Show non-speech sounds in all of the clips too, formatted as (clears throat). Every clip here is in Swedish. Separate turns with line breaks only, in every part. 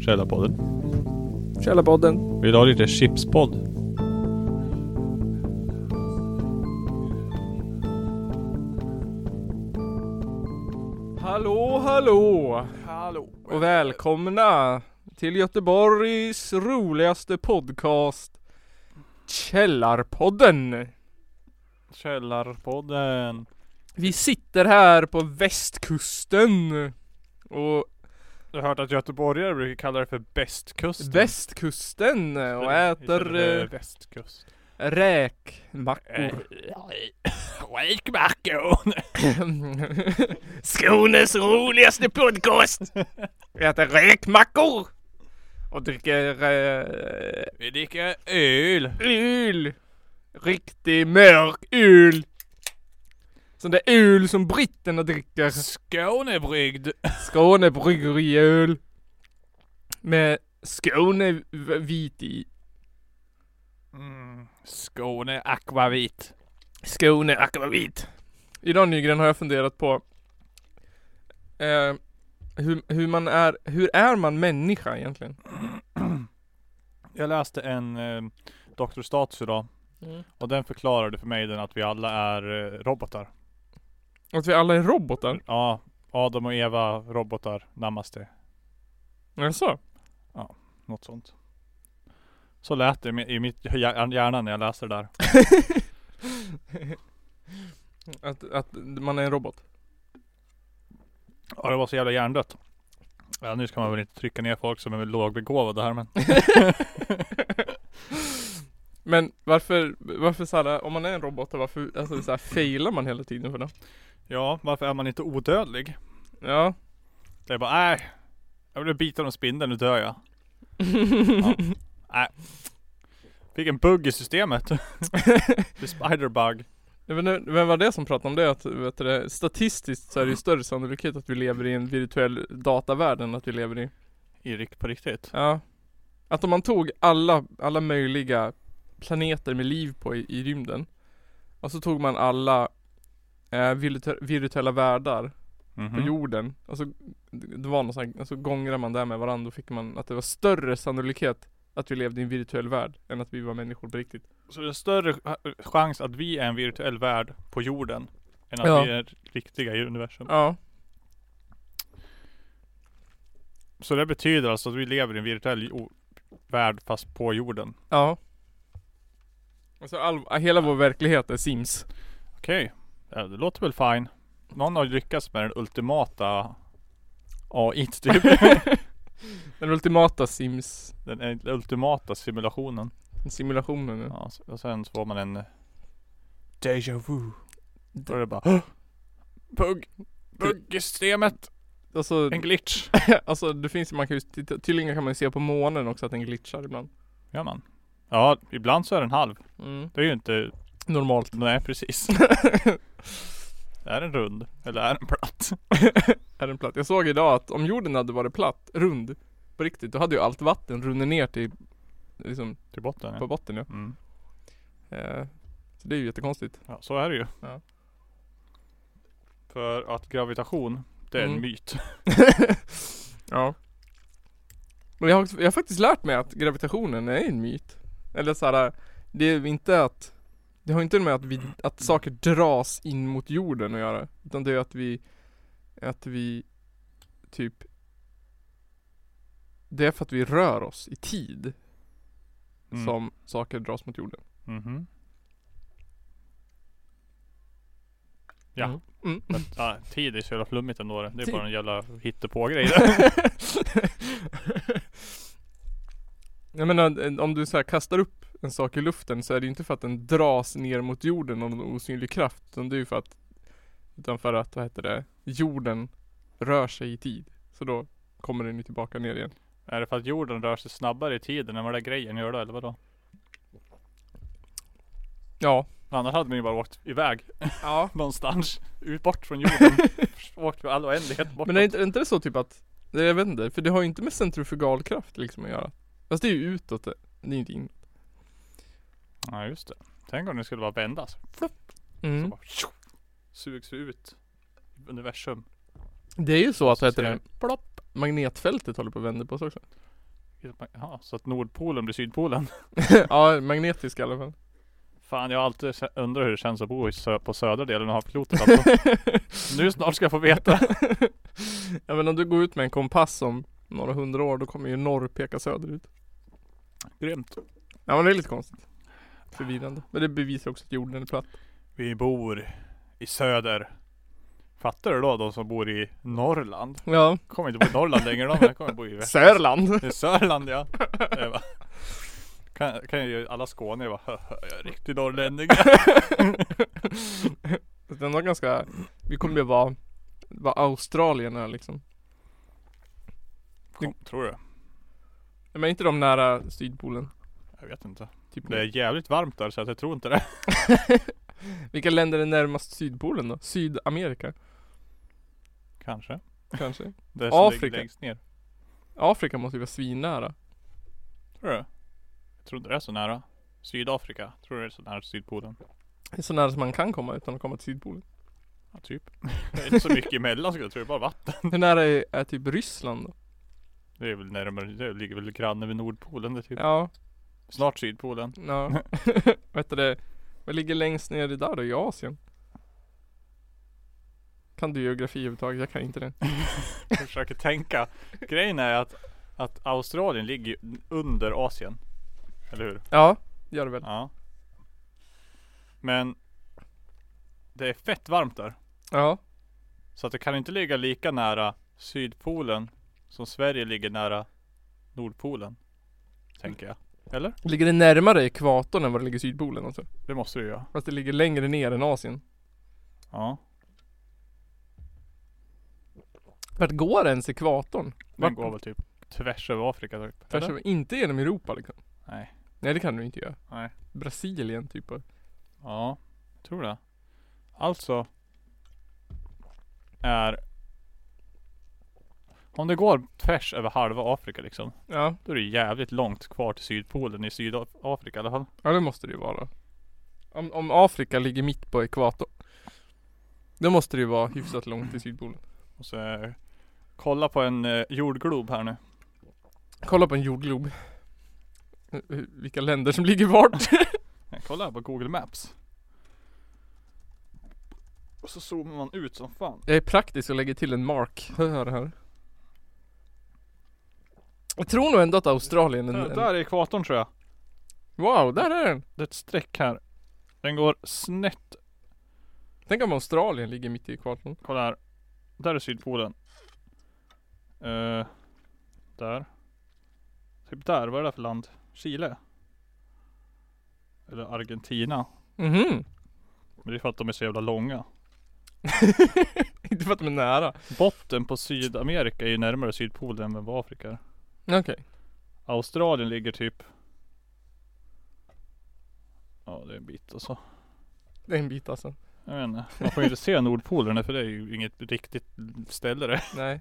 Källarpodden.
Källarpodden.
Vill du ha lite chipspodd?
Hallå, hallå
Hallå.
och välkomna till Göteborgs roligaste podcast Källarpodden.
Källarpodden.
Vi sitter här på västkusten och
Jag har hört att göteborgare brukar kalla det för bästkusten.
västkusten och äter eh,
Västkust. Eh, (laughs)
räkmackor.
Räkmackor.
Skånes roligaste podcast! (laughs) Vi äter räkmackor! Och dricker eh,
Vi dricker öl.
öl! Riktig mörk öl! Sån där öl som britterna dricker.
Skånebryggd.
Skåne bryggeriöl. Med Skåne v- vit i.
Mm. Skåne akvavit.
Skåne akvavit. Idag Nygren har jag funderat på eh, hur, hur man är, hur är man människa egentligen?
Jag läste en eh, Dr. Status idag. Och den förklarade för mig den att vi alla är eh, robotar.
Att vi alla är robotar?
Ja, Adam och Eva robotar. Namaste.
Jaså?
Något sånt. Så lät det i mi- i mitt hjär- hjärna när jag läste det där.
(laughs) att, att man är en robot?
Ja det var så jävla hjärndött. Ja, nu ska man väl inte trycka ner folk som är lågbegåvade här men.
(laughs) Men varför, varför såhär, om man är en robot, varför alltså, såhär, failar man hela tiden för det?
Ja, varför är man inte odödlig?
Ja.
Det är bara nej. Jag blev biten av spindeln, nu dör jag. Ja. Nej. Fick en bugg i systemet. (laughs) The spider bug.
Jag vet inte, vem var det som pratade om det? Att, vet du, det, statistiskt så är det ju större sannolikhet att vi lever i en virtuell datavärld än att vi lever i
Erik på riktigt.
Ja. Att om man tog alla, alla möjliga planeter med liv på i, i rymden. Och så tog man alla eh, virtu- virtuella världar på
Mhm.
jorden. Och så, det var någon sån här, och så gångrade man där med varandra. Då fick man att det var större sannolikhet att vi levde i en virtuell värld än att vi var människor på riktigt.
Så det är större ch- chans att vi är en virtuell värld på jorden. Än att
Ja.
vi är riktiga i universum.
Ja.
Så det betyder alltså att vi lever i en virtuell jo- värld fast på jorden.
Ja. Alltså all, hela vår verklighet är Sims.
Okej, ja, det låter väl fine. Någon har lyckats med den ultimata AI typ. (laughs)
(laughs) Den ultimata Sims
den en- ultimata simulationen.
simulationen nu.
Ja, s- och sen så får man en eh, Mm. Deja vu. Då är det bara Bugg! Bugg i systemet!
Alltså,
En glitch!
Alltså det finns ju, man kan ju, titta- tydligen kan man ju se på månen också att den glitchar ibland.
Gör man? Ja, ibland så är den halv. Det är ju inte,
Mm. Normalt.
nej
(laughs)
precis. är den rund? Eller är den platt?
Är den platt? Jag såg idag att om jorden hade varit platt, rund, på riktigt, då hade ju allt vatten runnit ner till, liksom,
Till botten
på
ja.
botten ja.
Mm.
Eh, så det är
(laughs)
ju jättekonstigt.
ja. Så är det ju.
Ja.
För att gravitation, det är en
Mm.
myt.
ja. Men jag har, också- jag har faktiskt lärt mig att gravitationen är en myt. Eller såhär, det är inte att Det har inte med att, vi, att saker dras in mot jorden att göra. Utan det är att vi Att vi Typ Det är för att vi rör oss i tid
Mm.
som saker dras mot jorden.
Mhm. Ja.
Mm. Mm.
Men, ja, tid är så jävla flummigt ändå det. Det är
Tid.
bara en jävla
(laughs)
hittepågrej det.
Jag menar om du så här kastar upp en sak i luften så är det ju inte för att den dras ner mot jorden av någon osynlig kraft. Utan det är ju för att Utan för att, vad heter det, jorden rör sig i tid. Så då kommer den ju tillbaka ner igen.
Är det för att jorden rör sig snabbare i tiden än vad den där grejen gör då eller vadå?
Ja.
Annars hade man ju bara åkt iväg
Ja.
(laughs) någonstans. Ut bort
(laughs)
från jorden. åkt för all oändlighet bort.
Men är inte, är inte det så typ att, nej, jag vet inte, för det har ju inte med centrifugalkraft liksom att göra. Fast det är ju utåt det, det är ju inte in.
Ja just det. Tänk om det skulle bara vändas. Så
Mm.
bara tjo, sugs vi ut. i Universum.
Det är ju så att, vad
Så
heter
ser
det,
jag- Plopp.
magnetfältet håller på att vända på (laughs) sig också.
Ja, så att Nordpolen blir Sydpolen. (laughs)
ja, magnetiska i alla fall.
Fan, jag har alltid sä- undrat hur det känns att bo i sö- på södra delen av havsklotet alltså.
(laughs)
Nu snart ska jag få veta.
ja men om du går ut med en kompass om några hundra år, då kommer ju norr peka söderut.
Grymt.
Ja men det är lite konstigt. Förvirrande. Men det bevisar också att jorden är platt.
Vi bor i söder. Fattar du då de som bor i Norrland?
Ja.
Kommer inte bo i Norrland längre de, jag kommer bo i väst.
Sörland!
I Sörland ja. Det är bara- Kan, kan ju alla skåningar bara "Hö, hö, jag är riktig norrlänning.
Den var ganska, vi kommer ju vara, vara australierna liksom.
Kom, tror du?
Men inte de nära sydpolen.
Jag vet inte.
Typ
Det är jävligt varmt där så att jag tror inte det. (laughs)
Vilka länder är närmast sydpolen då? Sydamerika?
Kanske.
Kanske?
Det som ligger
Afrika.
längst ner.
Afrika måste ju vara svinnära.
Tror du? Jag tror inte det är så nära. Sydafrika. Tror du det är så nära Sydpolen?
Det är Så nära som man kan komma utan att komma till sydpolen.
Ja, typ. (laughs) Det är inte så mycket emellan skulle jag tro. Det är bara vatten.
Hur nära är, är typ Ryssland då?
Det är väl närmare. Det ligger väl granne vid Nordpolen det typ.
Ja,
Snart Sydpolen.
ja.
(laughs)
(laughs) Vet du det? Vad ligger längst ner i där då? I Asien? Kan du geografi överhuvudtaget? Jag kan inte det.
Jag försöker tänka. Grejen är att, att Australien ligger ju under Asien. Eller hur?
Ja, gör det väl.
Ja. Men det är fett varmt där.
Ja.
Så att det kan inte ligga lika nära Sydpolen som Sverige ligger nära Nordpolen. Tänker jag. Eller?
Ligger det närmare ekvatorn än vad det ligger i sydpolen alltså?
Det måste det ju göra.
Fast det ligger längre ner än Asien.
Ja.
Vart går ens ekvatorn?
Den
Vart-
går väl typ tvärs över Afrika typ.
Tvärs
Eller?
över, inte genom Europa liksom.
Nej.
Nej det kan du inte göra.
Nej.
Brasilien typ. av-
Ja. Jag tror det. Alltså. Är. Om det går tvärs över halva Afrika liksom.
Ja,
Då är det jävligt långt kvar till Sydpolen i Sydafrika i alla fall.
ja det måste det ju vara. Om, om Afrika ligger mitt på ekvatorn. Då måste det ju vara hyfsat långt till sydpolen.
Och så. eh, Kolla på en eh, jordglob här nu.
Kolla på en jordglob. Eh, eh, Vilka länder som ligger vart.
Ja, Kolla här på Google Maps. Och så zoomar man ut som fan.
Jag är praktisk och lägger till en mark. Hör här. Jag tror nog ändå att Australien är en,
Där,
en...
där är ekvatorn tror jag.
Wow, där är den!
Det är ett streck här. Den går snett.
Tänk om Australien ligger mitt i ekvatorn.
Kolla här. Där är Sydpolen. Eh, där. Typ där. Vad är det där för land? Chile? Eller Argentina?
Mhm. (laughs)
Men det är för att de är så jävla långa.
Inte för att de är nära.
Botten på Sydamerika är ju närmare Sydpolen än vad Afrika är.
Okej.
Australien ligger typ Ja det är en bit alltså.
Det är en bit alltså.
Jag vet inte. Man får ju inte se Nordpolen för det är ju inget riktigt ställe det.
Nej.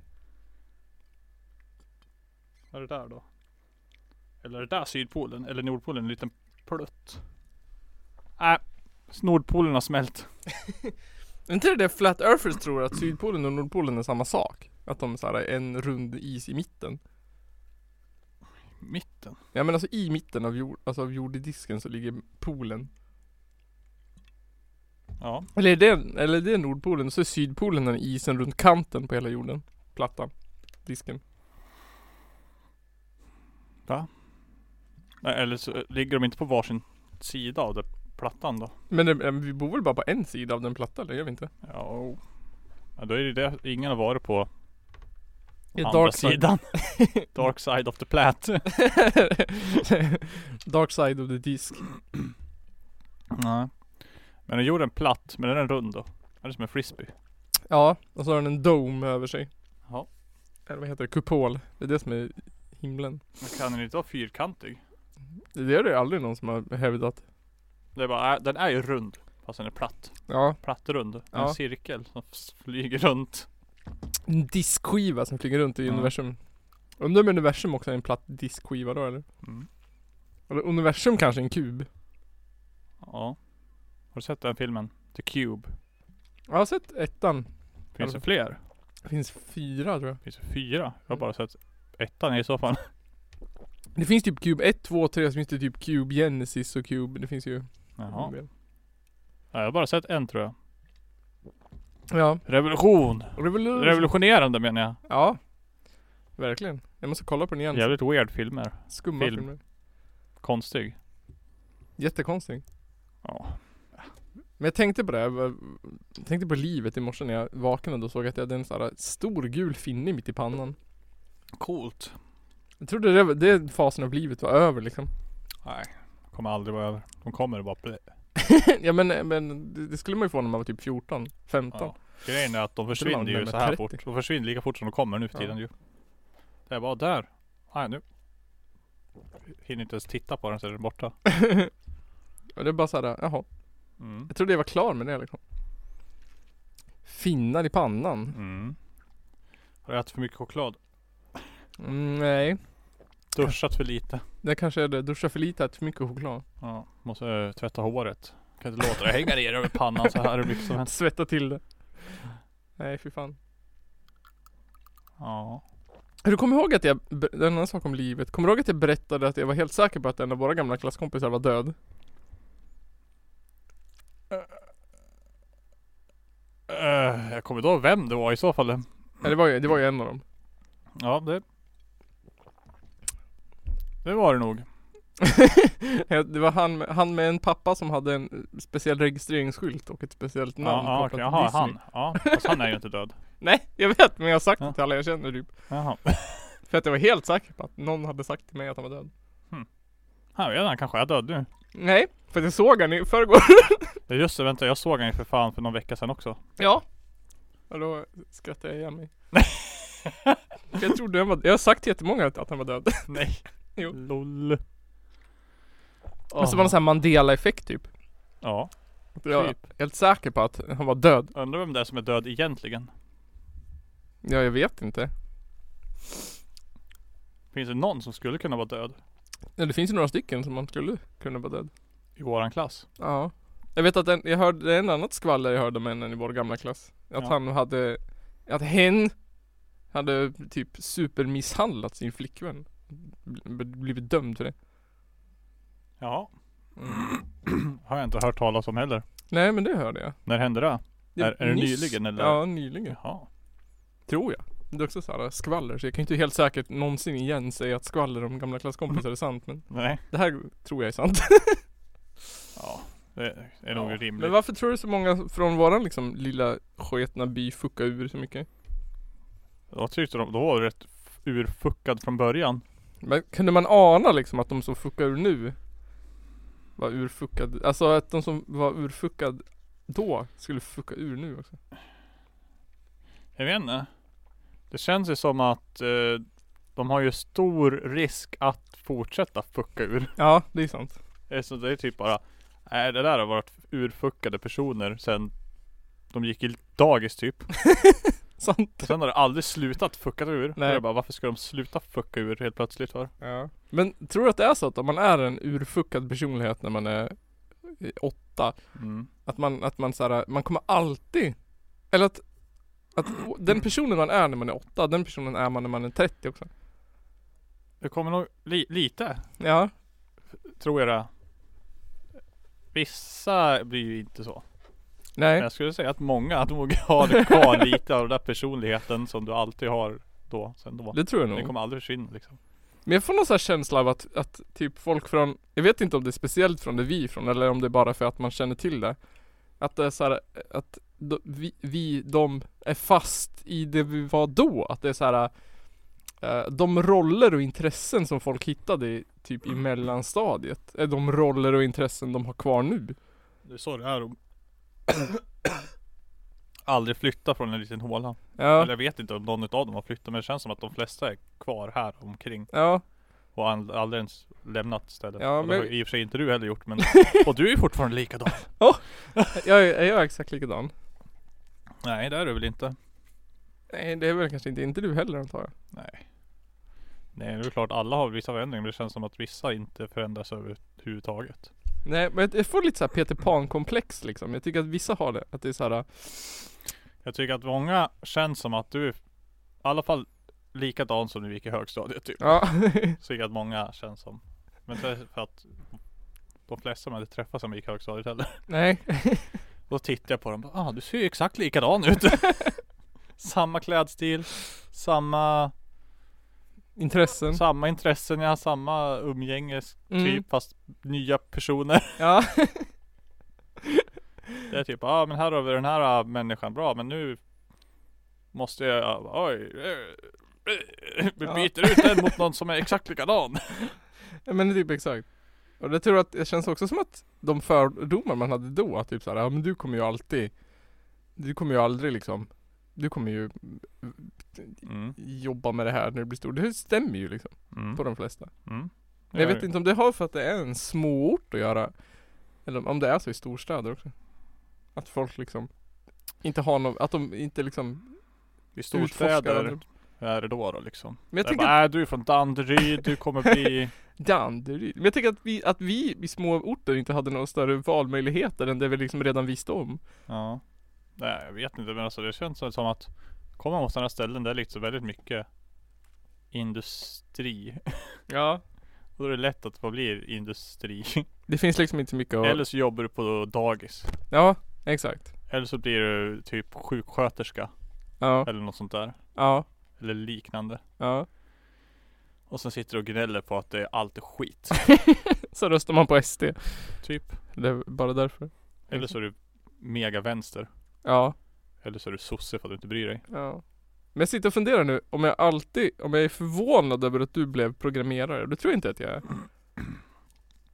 Vad är det där då? Eller är det där Sydpolen? Eller Nordpolen? En liten plutt. Nej. Nordpolen har smält.
Är inte det det flat earthers tror att sydpolen och nordpolen är samma sak? Att de är så här en rund is i mitten.
Mitten.
Ja men alltså i mitten av, jord, alltså av jorddisken så ligger polen.
Ja.
Eller är det, eller är det nordpolen och så är sydpolen den isen runt kanten på hela jorden. Plattan. Disken.
Nej, eller så ligger de inte på varsin sida av det plattan då.
Men det, men vi bor väl bara på en sida av den platta eller gör vi inte?
Ja. ja då är det ju det. Ingen har varit på
I
andra sidan. dark side of the plat.
(laughs) dark side of the disk.
Nej. Men den jorden platt, men den är rund då. Den är som en frisbee.
Ja, och så har den en dome över sig.
Ja.
Eller vad heter det? Kupol. Det är det som är himlen.
Men kan den inte vara fyrkantig?
Det är det ju aldrig någon som har hävdat.
Det är bara, äh, den är ju rund. Fast den är platt.
Ja.
Plattrund. Det är
Ja.
En cirkel som f- flyger runt.
En diskskiva som flyger runt i
Ja.
universum. Undrar om universum också är en platt diskskiva då eller?
Mm.
Eller universum kanske är en kub?
Ja. Har du sett den filmen? The Cube.
Jag har sett ettan.
Finns
Har
det fler?
Det finns fyra tror jag.
Finns det fyra? Jag har bara sett ettan i så fall.
Det finns typ Cube 1, 2, 3, så finns det typ Cube Genesis och Cube. Det finns ju.
(laughs) Jaha. Ja, Jag har bara sett en tror jag.
Ja.
Revolution!
Revolution.
Revolutionerande menar jag.
Ja. Verkligen. Jag måste kolla på den igen.
Jävligt weird filmer.
Skumma
film.
filmer.
Konstig.
Jättekonstig.
Ja.
Men jag tänkte på det. här, eh, Jag tänkte på livet i morse när jag vaknade och såg att jag hade en sån här stor gul finne mitt i pannan.
Coolt.
Jag trodde det, var- det fasen av livet var över liksom. (laughs)
Nej. Kommer aldrig vara över. De kommer och bara blä.
ja men, eh, men det, det skulle man ju få när man var typ 14, 15.
Ja. Grejen är att de
Det
försvinner
var
ju
med
så här
30.
fort. De försvinner lika fort som de kommer nu för tiden ju. Det är bara där. Nej nu. Hinner inte ens titta på den så är den borta.
Och det är bara såhär, jaha.
Mm.
Jag trodde jag var klar med det liksom. Finnar i pannan?
Mm. Har jag ätit för mycket choklad?
Mm, nej.
Duschat för lite?
Det kanske är det. Duscha för lite, ät för mycket choklad.
Ja. Måste eh, tvätta håret. Kan inte låta det hänga ner över pannan så här hur mycket som helst.
Svetta till det. Nej fy fan.
Ja.
Du kommer ihåg att jag, ber- en annan sak om livet. Kommer du ihåg att jag berättade att jag var helt säker på att en av våra gamla klasskompisar var död?
Eh, jag kommer inte ihåg vem det var i så fall.
Ja, det var ju, det var ju en av dem. (laughs)
Ja det. Det var det nog.
Ja, Det var han, med- han med en pappa som hade en speciell registreringsskylt och ett speciellt namn
ja, ja, okej.
kopplat
Jaha,
Disney.
han. Ja, fast han är ju inte död.
Nej, jag vet men jag har sagt
Ja.
det till alla jag känner typ.
Jaha.
För att jag var helt säker på att någon hade sagt till mig att han var död.
Han vet han kanske är död nu.
Nej, för att jag såg han i förrgår. (laughs)
Ja, Just det, vänta jag såg han ju för fan för någon vecka sedan också.
Ja. Och då skrattade jag igen mig. jag trodde han var Jag har sagt till jättemånga att, att han var död. (laughs)
Nej.
Jo.
LOL.
Men så var det en sån här Mandela-effekt typ.
Ja.
Att jag var
Typ.
helt säker på att han var död.
Undrar vem det är som är död egentligen.
Ja, jag vet inte.
Finns det någon som skulle kunna vara död?
Ja, det finns ju några stycken som man skulle kunna vara död.
I våran klass?
Ja. Jag vet att en, jag hörde, det är en annat skvaller jag hörde om en i vår gamla klass. Att
Ja.
han hade, att hen hade typ supermisshandlat sin flickvän. Bl- Blivit dömd för det.
Ja. (clears throat)
Mm.
Har jag inte hört talas om heller.
Nej men det hörde jag.
När hände det?
Det
Är- är det
nyss.
nyligen, eller?
Ja, nyligen.
Jaha.
Tror jag. Det är också såhär skvaller, så jag kan ju inte helt säkert någonsin igen säga att skvaller om gamla klasskompisar är sant men
Nej.
det här tror jag är sant.
Ja. Det är nog
Ja.
rimligt.
Men varför tror du så många från våran liksom lilla sketna by fuckar ur så mycket?
Jag tyckte de, då var det rätt f- urfuckad från början.
Men kunde man ana liksom att de som fuckar ur nu var urfuckade, alltså att de som var urfuckad då skulle fucka ur nu också?
Jag vet inte. Det känns ju som att eh, de har ju stor risk att fortsätta fucka ur.
Ja, det är sant. (laughs)
Så det är typ bara, nej det där har varit urfuckade personer sen de gick i dagis typ.
Sant.
Och sen har det aldrig slutat fucka ur.
Nej.
Nej. Jag bara, varför ska de sluta fucka ur helt plötsligt för?
Ja. Men tror du att det är så att om man är en urfuckad personlighet när man är eh, åtta
Mm.
Att man, att man såhär, man kommer alltid Eller att, att o- den personen man är när man är åtta, den personen är man när man är 30 också
Det kommer nog li- lite,
Ja,
tror jag det. Vissa blir ju inte så. Men
nej,
jag skulle säga att många nog har (laughs) kvar lite av den där personligheten som du alltid har då, sen då.
det tror jag
Den
nog
kommer aldrig försvinna liksom.
Men jag får någon sån här känsla av att, att typ folk från Jag vet inte om det är speciellt från det vi är från eller om det är bara för att man känner till det Att det är såhär, att de, vi, vi, de är fast i det vi var då, att det är såhär eh, de roller och intressen som folk hittade i, typ i mellanstadiet är de roller och intressen de har kvar nu.
Det är så det är om (coughs) Aldrig flytta från en liten håla.
Ja,
Eller jag vet inte om någon utav dem har flyttat men det känns som att de flesta är kvar här omkring
ja, och
och an- aldrig ens lämnat stället.
Ja,
och det har
men-
i och för sig inte du heller gjort men (laughs) (laughs) Och du är fortfarande likadan.
jag är, är jag exakt likadan?
Nej det är du väl inte?
Nej det är väl kanske inte, inte du heller antar jag.
Nej. Nej det är klart alla har vissa förändringar men det känns som att vissa inte förändras överhuvudtaget.
Nej men jag får lite såhär Peter Pan komplex liksom. Jag tycker att vissa har det, att det är såhär
Jag tycker att många känns som att du är i alla fall likadan som när vi gick i högstadiet typ.
Ja. (laughs)
Så tycker jag att många känns som. Men det är för att de flesta man inte träffar som gick i högstadiet heller.
Nej.
Då tittar jag på dem bara, ah du ser ju exakt likadan ut. (laughs) samma klädstil, samma,
Intressen.
samma intressen, ja, samma umgänges
Mm.
typ fast nya personer. (laughs)
Ja.
Det är typ, ah men här har vi den här ah, människan, bra men nu måste jag, ah, oj, eh, eh, vi
Ja.
byter ut den mot någon som är exakt
(laughs)
likadan.
Ja, men det är typ exakt. Och det tror jag att, det känns också som att de fördomar man hade då, att typ såhär, ja men du kommer ju alltid, du kommer ju aldrig liksom, du kommer ju
Mm,
jobba med det här när du blir stor. Det stämmer ju liksom
mm,
på de flesta.
mm.
Men jag vet inte om det har för att det är en småort att göra, eller om det är så i storstäder också. Att folk liksom inte har någon, att de inte liksom
I
utforskar
storstäder,
andra.
hur är det då då liksom?
Men jag
Jag
tänker
bara, äh, du är från Danderyd, du kommer bli
Danderyd. Men jag tänker att vi, att vi i små orter inte hade några större valmöjligheter än det vi liksom redan visste om.
Ja Nej jag vet inte men alltså det känns som att Kommer man på sådana ställen där det är liksom väldigt mycket Industri (laughs)
Ja.
Och då är det lätt att man blir industri
Det finns liksom inte så mycket att...
Eller så jobbar du på dagis
Ja, exakt.
Eller så blir du typ sjuksköterska
Ja,
Eller något sånt där
ja,
Eller liknande
ja.
Och sen sitter du och gnäller på att det är allt är skit
Så röstar man på SD.
Typ
Det är bara därför.
Eller så är du mega vänster
Ja,
Eller så är du sosse för att du inte bryr dig
ja. Men jag sitter och funderar nu om jag alltid, om jag är förvånad över att du blev programmerare. Det tror jag inte att jag är. Men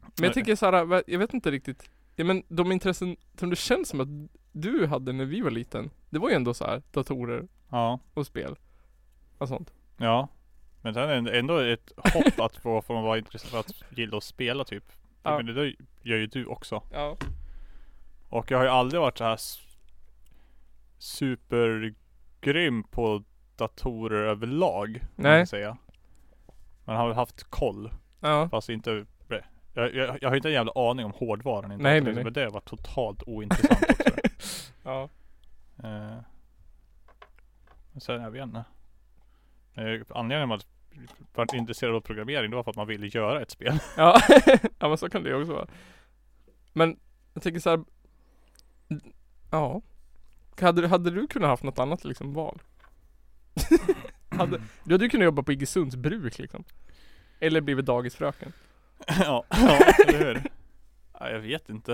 Nej.
jag tänker såhär, va- jag vet inte riktigt. Ja men de intressen som det känns som att du hade när vi var liten. Det var ju ändå så här datorer
Ja
och spel. Och sånt.
Ja Men sen är det ändå ett hopp att få från att vara intresserad av att gilla att spela typ
Ja.
Men det där gör ju du också
Ja.
Och jag har ju aldrig varit så här s- supergrym på datorer överlag. om man
Nej.
ska Säga. Man har väl haft koll.
Ja.
Fast inte... Jag, jag, jag har ju inte en jävla aning om hårdvaran. Inte, men,
Nej, nej, nej.
Liksom, men det var totalt ointressant
(laughs)
också.
Ja.
Eh, Men sen, jag vet inte. Eh, Anledningen till att man var intresserad av programmering, det var för att man ville göra ett spel.
Ja, (laughs) ja men så kan det ju också vara. Men jag tänker så här. Ja. Hade, du- hade du kunnat haft något annat liksom val? (laughs) hade, du hade ju kunnat jobba på Iggesunds bruk liksom. Eller blivit dagisfröken.
(laughs) ja, ja, eller hur? Ja, jag vet inte.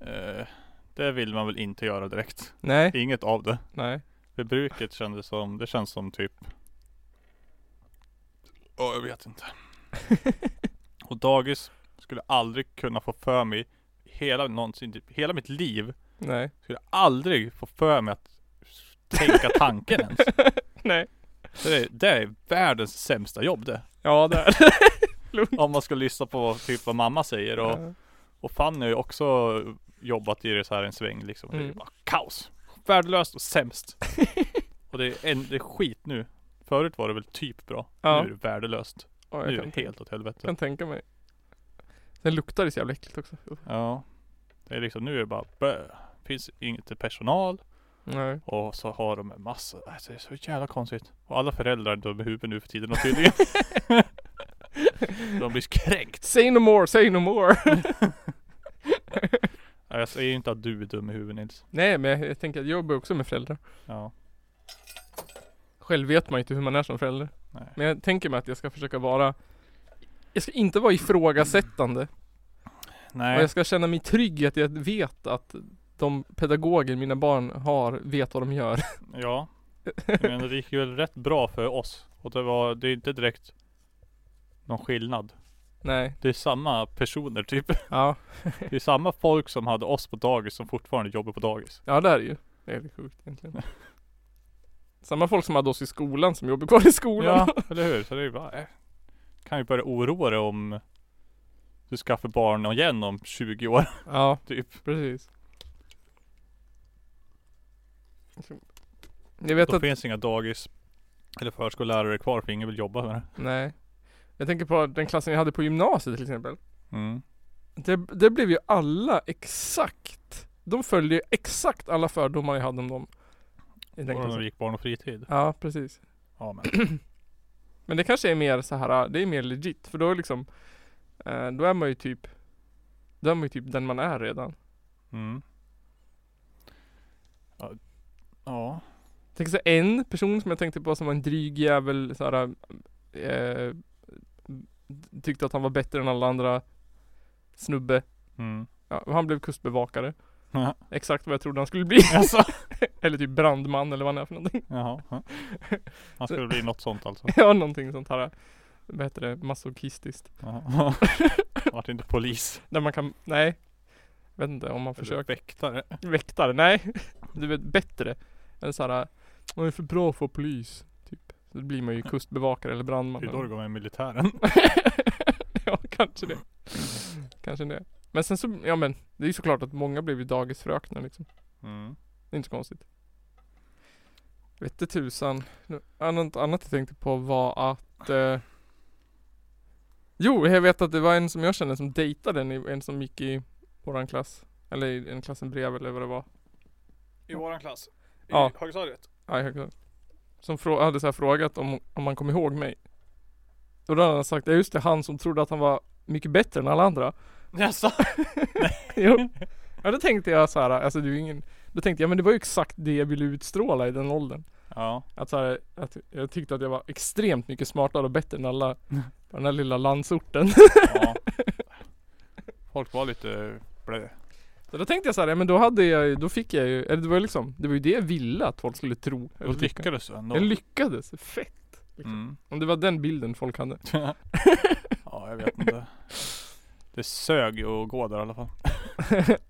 Eh, det vill man väl inte göra (laughs) direkt.
Nej,
Inget av det.
nej. (laughs)
För bruket kändes som, det känns som typ Ja, jag vet inte. Och dagis skulle jag aldrig kunna få för mig hela någonsin, typ hela mitt liv
Nej.
skulle jag aldrig få för mig att tänka tanken (laughs) ens.
(laughs) Nej.
Det är, det är världens sämsta jobb det.
Ja det är
Om man ska lyssna på vad- typ vad mamma säger och
det.
Och Fanny har ju också jobbat i det så här en sväng liksom. Det är
Mm.
bara kaos. Värdelöst och
(laughs)
sämst. och det är, en, det är skit nu. Förut var det väl typ bra.
Ja.
Nu är det värdelöst.
Ja,
Nu
jag
är det
kan,
helt åt helvete.
kan tänka mig. Sen luktar det så jävla äckligt också.
Ja. Det är liksom, nu är det bara bö. Finns inget personal.
Nej.
Och så har de en massa. Alltså, det är så jävla konstigt. Och alla föräldrar är dumma i huvudet nu för tiden och
(laughs)
tydligen. de blir kränkt.
Say no more, say no more. (laughs)
Ja, Jag säger inte att du är dum i huvudet Nils.
Nej men jag, jag tänker att jag jobbar också med föräldrar.
Ja.
Själv vet man ju inte hur man är som förälder.
Nej.
Men jag tänker mig att jag ska försöka vara Jag ska inte vara ifrågasättande. Och
Nej.
jag ska känna mig trygg i att jag vet att de pedagoger mina barn har vet vad de gör. (laughs)
Ja, men det gick ju väl rätt bra för oss. Och det var, det är inte direkt någon skillnad.
Nej.
Det är samma personer typ.
Ja.
Det är samma folk som hade oss på dagis som fortfarande jobbar på dagis.
Ja det är det ju. Det är lite sjukt
(laughs)
egentligen. Samma folk som hade oss i skolan som jobbar kvar i skolan.
Ja, eller hur? Så det är ju bara, äh. kan ju börja oroa dig om du skaffar barn igen om 20 år
(laughs) ja
typ.
precis. Jag vet
Då
att
finns inga dagis eller förskollärare kvar för ingen vill jobba med det.
Nej. Jag tänker på den klassen jag hade på gymnasiet till exempel.
Mm.
Det, det blev ju alla exakt de följer exakt alla fördomar jag hade om dem. Jag tänkte
Bara när
så.
det gick barn och fritid.
Ja, precis.
Ja men.
Men det kanske är mer så här, äh, det är mer legit. För då är liksom, eh, då är man ju typ, då är man ju typ den man är redan.
Mm. Ja. ja.
Tänk så här, en person som jag tänkte på som var en dryg jävel så här, eh, Tyckte att han var bättre än alla andra Snubbe
Mm.
ja, och Han blev kustbevakare
Ja.
Exakt vad jag trodde han skulle bli (laughs)
Alltså.
Eller typ brandman eller vad han är för någonting
Jaha.
(laughs)
ja. Han skulle bli något sånt alltså.
Ja någonting sånt här Vad heter det? Masochistiskt (laughs)
Jaha. Vart inte polis.
Där man kan, nej Vet inte om man
Eller
försöker
väktare.
Väktare, nej (laughs) Du vet bättre Än såhär Man är för bra för att vara polis Typ Så då blir man ju kustbevakare eller brandman
Det är
eller
då det går med militären.
(laughs) ja,
(laughs)
kanske det. Kanske det. Men sen så, ja men det är ju såklart att många blev ju dagisfröknar liksom.
Mm.
Det är inte så konstigt. Vette tusan. Nu- Annat, annat jag tänkte på var att eh... Jo, jag vet att det var en som jag kände som dejtade en, i- en som gick i våran klass. Eller i den klassen bredvid eller vad det var.
I våran klass. I
Ja.
högstadiet.
Ja, jag kan- Som frå- hade så här frågat om, om han kom ihåg mig. Och då hade han sagt, ja just det, han som trodde att han var mycket bättre än alla andra. (laughs)
Jaså?
Jo. Ja då tänkte jag så här, alltså du är ju ingen Då tänkte jag men det var ju exakt det jag ville utstråla i den åldern.
Ja.
Att så här, att jag tyckte att jag var extremt mycket smartare och bättre än alla på den här lilla landsorten. (laughs)
ja. Folk var lite blä.
Så då tänkte jag så här, ja men då hade jag ju, då fick jag ju, eller det var ju liksom, det var ju det jag ville att folk skulle tro.
Och lyckades du ändå.
Jag lyckades, fett.
Mm.
Om det var den bilden
(laughs)
folk hade.
ja, jag vet inte. Det sög ju att gå där i alla fall.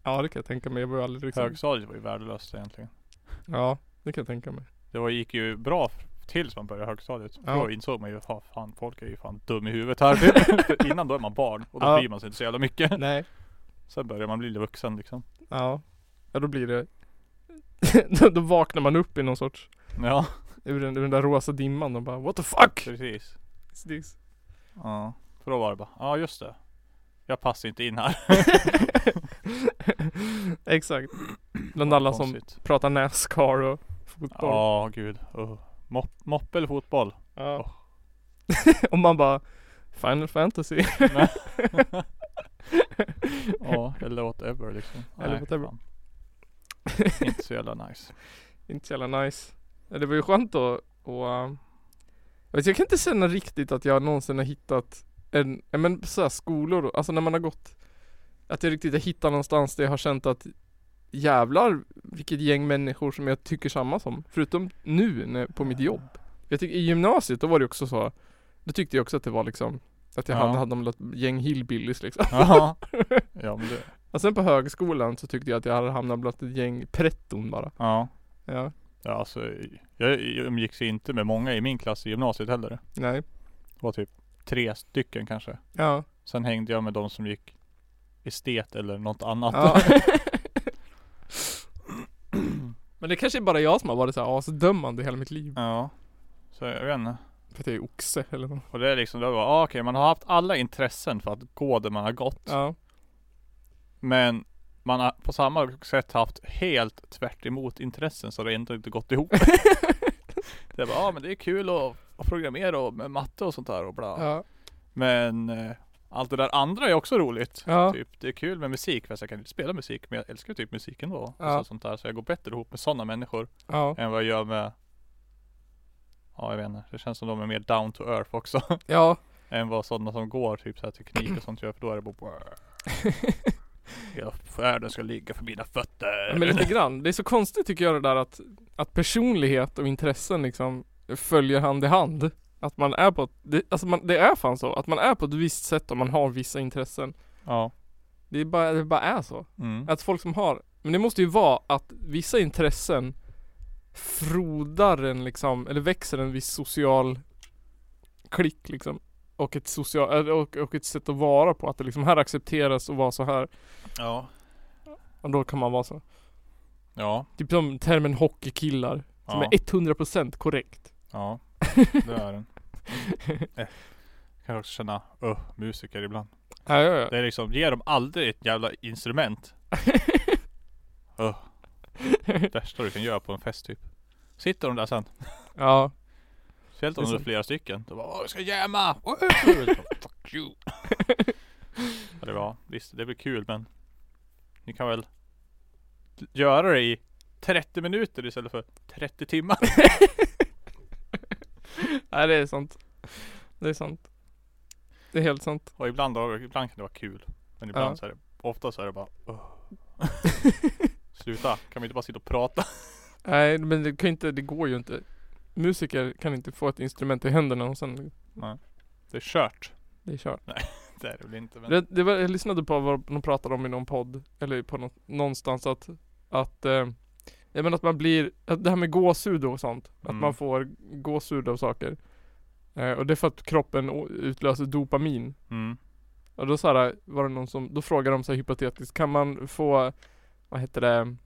ja det kan jag tänka mig, jag var ju aldrig liksom
Högstadiet var ju värdelöst egentligen.
Ja, det kan jag tänka mig.
Det var, gick ju bra f- tills man började högstadiet.
Ja.
Då insåg man ju att fan, folk är ju fan dum i huvudet här. (laughs) typ. För Innan då är man barn och då
Ja.
bryr man sig inte så jävla mycket. (laughs)
(laughs) Nej.
Sen börjar man bli lite vuxen liksom.
Ja. Ja då blir det (laughs) då, då vaknar man upp i någon sorts
Ja,
Ur den, ur den där rosa dimman och bara What the fuck?
precis.
is this?"
Ja. För då var det bara, ja just det. Jag passar inte in här.
(laughs) Exakt Bland alla som
Konstigt.
pratar NASCAR och fotboll
Ja, gud. Uh. Mop, moppe eller fotboll?
Ja. (laughs) och man bara Final Fantasy (laughs)
Ja, (laughs) eller whatever liksom.
Eller whatever.
fan. (laughs) Inte så jävla nice.
Inte så jävla nice Ja, Det var ju skönt då och ähm, jag, vet, jag kan inte känna riktigt att jag någonsin har hittat en, ja men så här skolor, och- alltså när man har gått Att jag riktigt har hittat någonstans där jag har känt att Jävlar vilket gäng människor som jag tycker samma som Förutom nu när, på mitt jobb Jag tycker i gymnasiet då var det också så Då tyckte jag också att det var liksom Att jag
Ja.
hade, hade något gäng hillbillies liksom (laughs)
Ja. ja men det.
Och sen på högskolan så tyckte jag att jag hade hamnat bland ett gäng pretton bara
Ja.
Ja,
ja alltså, jag umgicks ju inte med många i min klass i gymnasiet heller. Det
nej,
var typ tre stycken kanske.
ja,
Sen hängde jag med de som gick estet eller något annat.
ja. (laughs) Men det kanske är bara jag som har varit så här asdömande hela mitt liv.
(laughs) ja. Så jag vet inte.
För att jag är oxe eller något.
Och det är liksom, det var, ah, okej man har haft alla intressen för att gå där man har gått.
Ja.
Men man har på samma sätt haft helt tvärt emot intressen så det har ändå inte gått
(laughs)
ihop. det är bara, ja ah, men det är kul att, att programmera och med matte och sånt där och bla.
Ja.
Men eh, allt det där andra är också roligt.
Ja.
Typ, det är kul med musik fast jag kan inte spela musik men jag älskar typ musik ändå.
Ja.
Och så, sånt där. så jag går bättre ihop med sådana människor
Ja.
(laughs) än vad jag gör med Ja jag vet inte, det känns som de är mer down to earth också. (laughs)
Ja.
än vad sådana som går typ så här teknik och sånt gör för då är det bara
(laughs)
Hela världen ska ligga för mina fötter.
Men lite grann. Det är så konstigt tycker jag det där att, att personlighet och intressen liksom följer hand i hand. Att man är på ett, det, alltså man, det är fan så. Att man är på ett visst sätt om man har vissa intressen.
Ja.
Det är bara, det bara är så.
Mm.
Att folk som har, men det måste ju vara att vissa intressen frodar en liksom, eller växer en viss social klick liksom. Och ett, social, eller- och, och ett sätt att vara på. Att det liksom här accepteras att vara så här.
Ja.
Och då kan man vara så.
Ja.
Typ som termen hockeykillar. Som
Ja.
är 100% korrekt. (laughs)
ja. Det är den. Eh. Kan jag också känna, öh, musiker ibland.
Ja, ja, ja.
Det är liksom, ge dem aldrig ett jävla instrument. Ugh. Värsta du kan göra på en fest typ. Sitter de där sen.
(laughs) Ja.
Speciellt
Det är
om det är
sant.
flera stycken. Då bara "Åh, vi ska jämma! Woohoo!" (laughs) Fuck
(laughs)
you! ja, det var, visst det blir kul men Ni kan väl Göra det i 30 minuter istället för 30 timmar. (laughs)
Nej det är sant. Det är sant. Det är helt sant.
Och ibland, har- ibland kan det vara kul. Men ibland
Ja.
så är det Ofta så är det bara
(laughs)
"Åh." Sluta, kan vi inte bara sitta och prata? (laughs)
Nej men det kan inte, det går ju inte. Musiker kan inte få ett instrument i händerna och sen,
Det är kört.
det är kört.
Det är det väl inte men
Det, det var, jag lyssnade på vad de pratade om i någon podd, eller på något, någonstans att, att eh, jag menar att man blir, att det här med gåshud och sånt, att
Mm.
man får gåshud av saker. Eh, och det är för att kroppen å- utlöser dopamin.
mm.
Och då så här, var det någon som, då frågade de så här hypotetiskt, kan man få, vad heter det,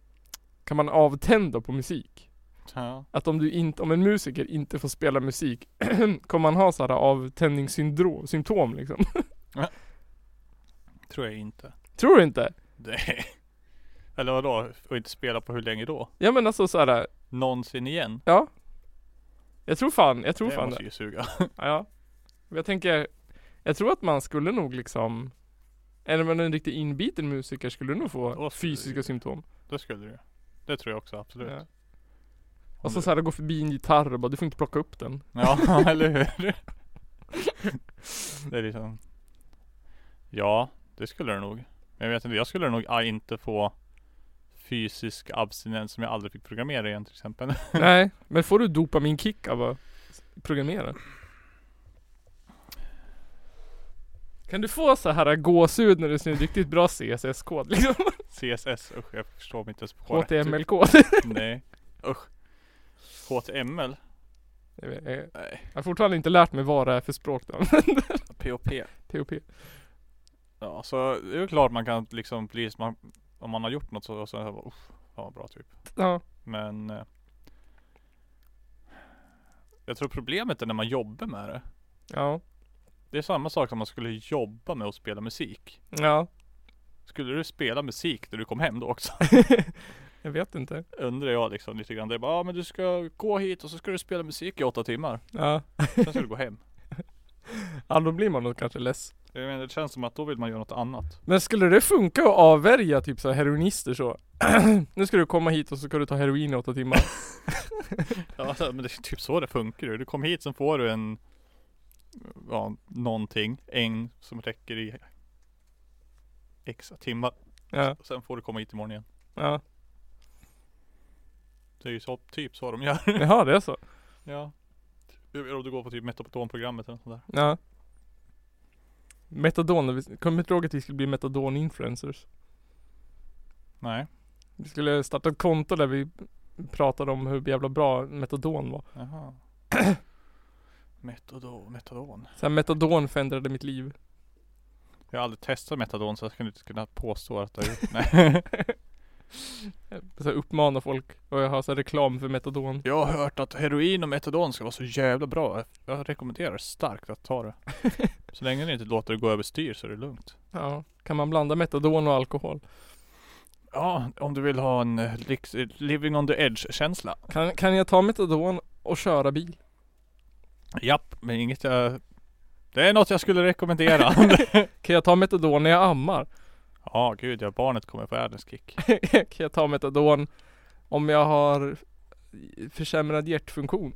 kan man avtända på musik?
ja.
Att om du inte, om en musiker inte får spela musik, (clears throat) kommer man ha så här avtändningssyndrom, symptom liksom? (laughs)
Tror jag inte.
Tror du inte?
Det Eller vadå? Och inte spela på hur länge då?
Ja men alltså så här,
Någonsin igen?
Ja Jag tror fan, jag tror
det
fan
måste
det
ju suga.
Ja Men Jag tänker Jag tror att man skulle nog liksom Eller men en riktigt inbiten musiker skulle nog få
Då skulle
fysiska
det-
symptom
Det skulle du Det tror jag också absolut.
ja.
Ja,
Och så såhär gå förbi en gitarr och bara du får inte plocka upp den
(laughs)
(laughs)
ja eller hur? det är liksom Ja, det skulle du nog. Men jag vet inte, jag skulle nog ah, inte få fysisk abstinens som jag aldrig fick programmera igen till exempel. (laughs)
Nej Men får du dopaminkick av att s- programmera? Kan du få så här gåshud när du ser en riktigt bra CSS-kod liksom?
CSS, usch jag förstår mig inte ens på det.
(laughs) HTML-kod?
(laughs) Nej. Usch. HTML?
Jag vet- jag-
Nej.
jag har fortfarande inte lärt mig vad det är för språk då (laughs)
POP.
POP
Ja, så det är ju klart man kan liksom bli, man, om man har gjort något så, så är det bara, usch, fan vad bra typ.
Ja
Men eh, Jag tror problemet är när man jobbar med det
Ja,
Det är samma sak som man skulle jobba med att spela musik
ja,
Skulle du spela musik när du kom hem då också? (laughs)
jag vet inte.
Undrar jag liksom lite grann Det är bara, ah, men du ska gå hit och så ska du spela musik i åtta timmar
Ja.
Sen ska du gå hem
ja, då blir man nog kanske less.
(laughs) Jag menar det känns som att då vill man göra något annat
Men skulle det funka att avvärja typ så här heroinister så? (clears throat) nu ska du komma hit och så ska du ta heroin i åtta timmar.
(laughs) Ja men det är typ så det funkar ju Du kom hit sen får du en Ja, någonting En som räcker i X timmar
ja,
Sen får du komma hit imorgon igen
ja.
Det är ju så, typ så de gör
Jaha, det är så.
(laughs) Ja. Eller om du går på typ metapotonprogrammet eller något sånt där.
Ja. Metadon, vi- kommer inte ihåg att vi skulle bli metadon-influencers?
Nej.
Vi skulle starta ett konto där vi pratade om hur jävla bra metadon var.
Jaha. (clears throat) Metadon, metadon.
Så här, metadon förändrade mitt (laughs) liv.
Jag har aldrig testat metadon så jag skulle inte kunna påstå att det har gjort. Nej.
Så här, uppmana folk och jag har så här, reklam för metadon.
(laughs) Jag har hört att heroin och metadon ska vara så jävla bra. Jag rekommenderar starkt att ta det. (laughs) Så länge ni inte låter det gå överstyr så är det lugnt.
Ja. Kan man blanda metadon och alkohol?
Ja, om du vill ha en eh, riks- eh, living on the edge känsla.
Kan, kan jag ta metadon och köra bil?
Japp, men inget jag... Det är något jag skulle rekommendera.
Kan jag ta metadon när jag ammar?
(laughs)
(laughs)
Ja, gud ja. Barnet kommer få världens kick.
kan jag ta metadon om jag har försämrad hjärtfunktion?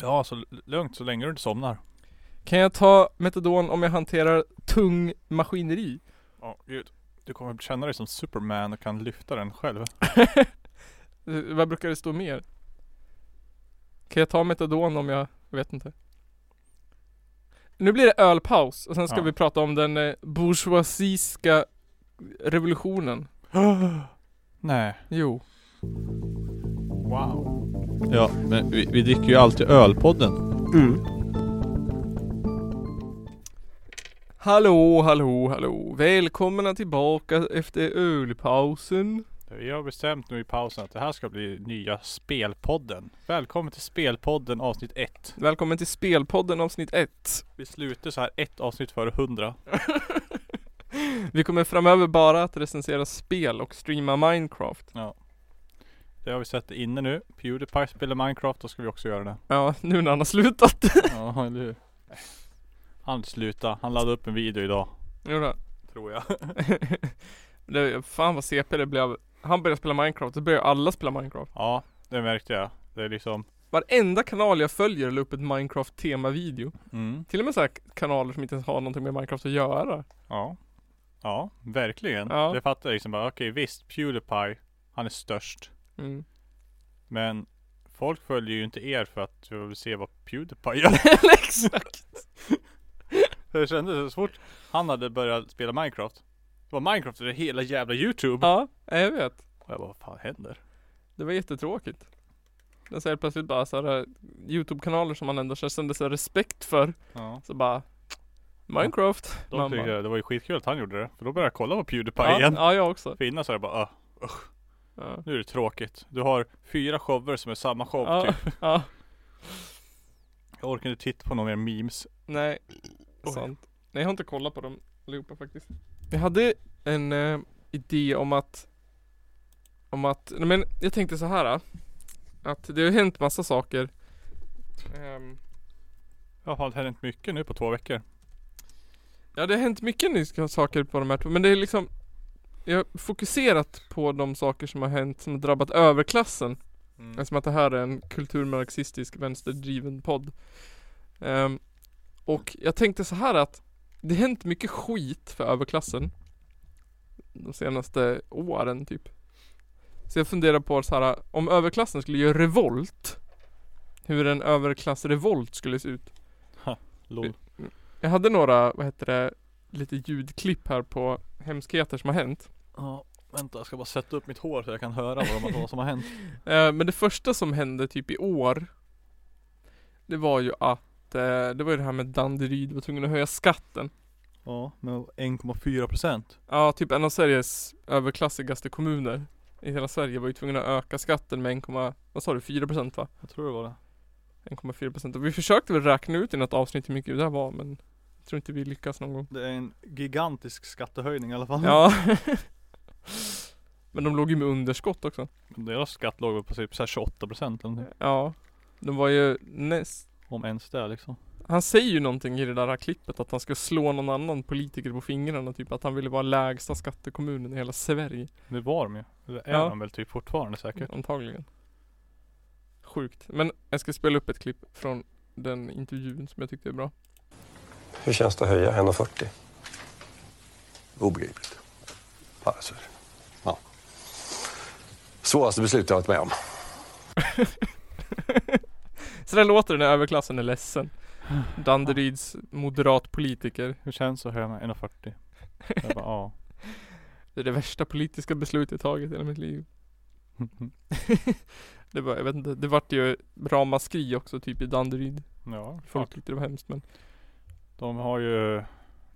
Ja, så l- lugnt så länge du inte somnar.
Kan jag ta metadon om jag hanterar tung maskineri?
Ja, gud. Du kommer känna dig som Superman och kan lyfta den själv.
Eh, Vad brukar det stå mer? Kan jag ta metadon om jag, jag vet inte. Nu blir det ölpaus och sen ska
Ja.
vi prata om den eh, bourgeoisiska revolutionen.
Nej.
Jo.
Wow. Ja, men vi, vi dricker ju alltid ölpodden.
Hallå, hallå, hallå. Välkomna tillbaka efter ölpausen.
Vi har bestämt nu i pausen att det här ska bli nya spelpodden. Välkommen till spelpodden avsnitt 1.
Välkommen till Spelpodden avsnitt 1.
Vi slutar så här ett avsnitt före 100.
(laughs) Vi kommer framöver bara att recensera spel och streama Minecraft.
Det har vi sett inne nu. Pewdiepie spelar Minecraft, då ska vi också göra det.
Ja, nu när han har slutat.
Ja, eller hur? Han sluta. Han laddade upp en video idag.
Jo då. (laughs)
Tror jag.
det, fan vad CP det blev. Han började spela Minecraft, då började alla spela Minecraft.
Ja, det märkte jag. Det är liksom.
Varenda kanal jag följer la upp ett Minecraft temavideo.
Mm.
Till och med så här kanaler som inte ens har någonting med Minecraft att göra.
Ja. Ja, verkligen.
Ja.
Det fattar jag liksom bara. Okej, visst. Pewdiepie. Han är störst.
Mm. (laughs)
Men folk följer ju inte er för att vi vill se vad Pewdiepie
(laughs)
gör.
Exakt.
Det kändes så fort han hade börjat spela Minecraft. Det var Minecraft över hela jävla Youtube.
Ja, jag vet.
Och jag bara, vad fan händer?
Det var jättetråkigt. Jag ser plötsligt bara så här eh, Youtube-kanaler som man ändå kände så här respekt för.
Ja.
Så bara Minecraft.
Då
Man
tyckte
bara,
jag det var ju skitkul att han gjorde det. För då började jag kolla på Pewdiepie
ja,
igen.
Ja, jag också.
För innan så är jag bara, "Ah,
Ja.
nu är det tråkigt. Du har fyra shower som är samma show
Ja,
typ.
(laughs) ja.
Jag orkar inte titta på några mer memes.
Nej,
Oj.
sant. Nej jag har inte kollat på dem allihopa faktiskt. Jag hade en eh, idé om att Om att, nej, men jag tänkte så här. eh, Att det har hänt massa saker Ehm,
Ja, fan, det har hänt mycket nu på två veckor.
Ja det har hänt mycket nya saker på de här två, men det är liksom Jag har fokuserat på de saker som har hänt som har drabbat överklassen Eftersom att det här är en kulturmarxistisk vänsterdriven podd. Ehm, och jag tänkte så här att det har hänt mycket skit för överklassen. De senaste åren typ. Så jag funderar på så här om överklassen skulle göra revolt. Hur en överklassrevolt skulle se ut.
Lol.
Jag hade några, vad heter det, lite ljudklipp här på hemskheter som har hänt.
Ja, vänta jag ska bara sätta upp mitt hår så jag kan höra vad, de, vad som har hänt.
Eh, Men det första som hände typ i år Det var ju att eh, Det var ju det här med Danderyd var tvungen att höja skatten
Ja, med 1,4 procent.
Ja typ en av Sveriges överklassigaste kommuner I hela Sverige var ju tvungen att öka skatten med 1, vad sa du 4% va?
Jag tror det var det.
1,4% och vi försökte väl räkna ut i något avsnitt hur mycket det där var men Jag tror inte vi lyckas någon gång
Det är en gigantisk skattehöjning i alla fall.
Ja (laughs) Men de låg ju med underskott också
Deras skatt låg väl på typ så här 28 procent eller någonting.
Ja De var ju näst
Om ens det liksom.
Han säger ju någonting i det där här klippet att han ska slå någon annan politiker på fingrarna typ att han ville vara lägsta skattekommunen i hela Sverige
Det var de ju. Det är
Ja.
de väl typ fortfarande säkert.
antagligen Sjukt, men jag ska spela upp ett klipp från den intervjun som jag tyckte är bra
Hur känns det att höja 1,40?
Obegripligt.
Passar.
Ja.
Svåraste beslut jag varit med om.
Så där låter det när överklassen är ledsen Danderyds moderat politiker
Hur känns det att höja med 1,40? Jag bara, ja. (laughs)
Det är det värsta politiska beslutet jag tagit i hela mitt liv Det var, jag vet inte, det vart ju ramaskri också typ i Danderyd
ja,
Folk
folk.
tyckte det var hemskt men
De har ju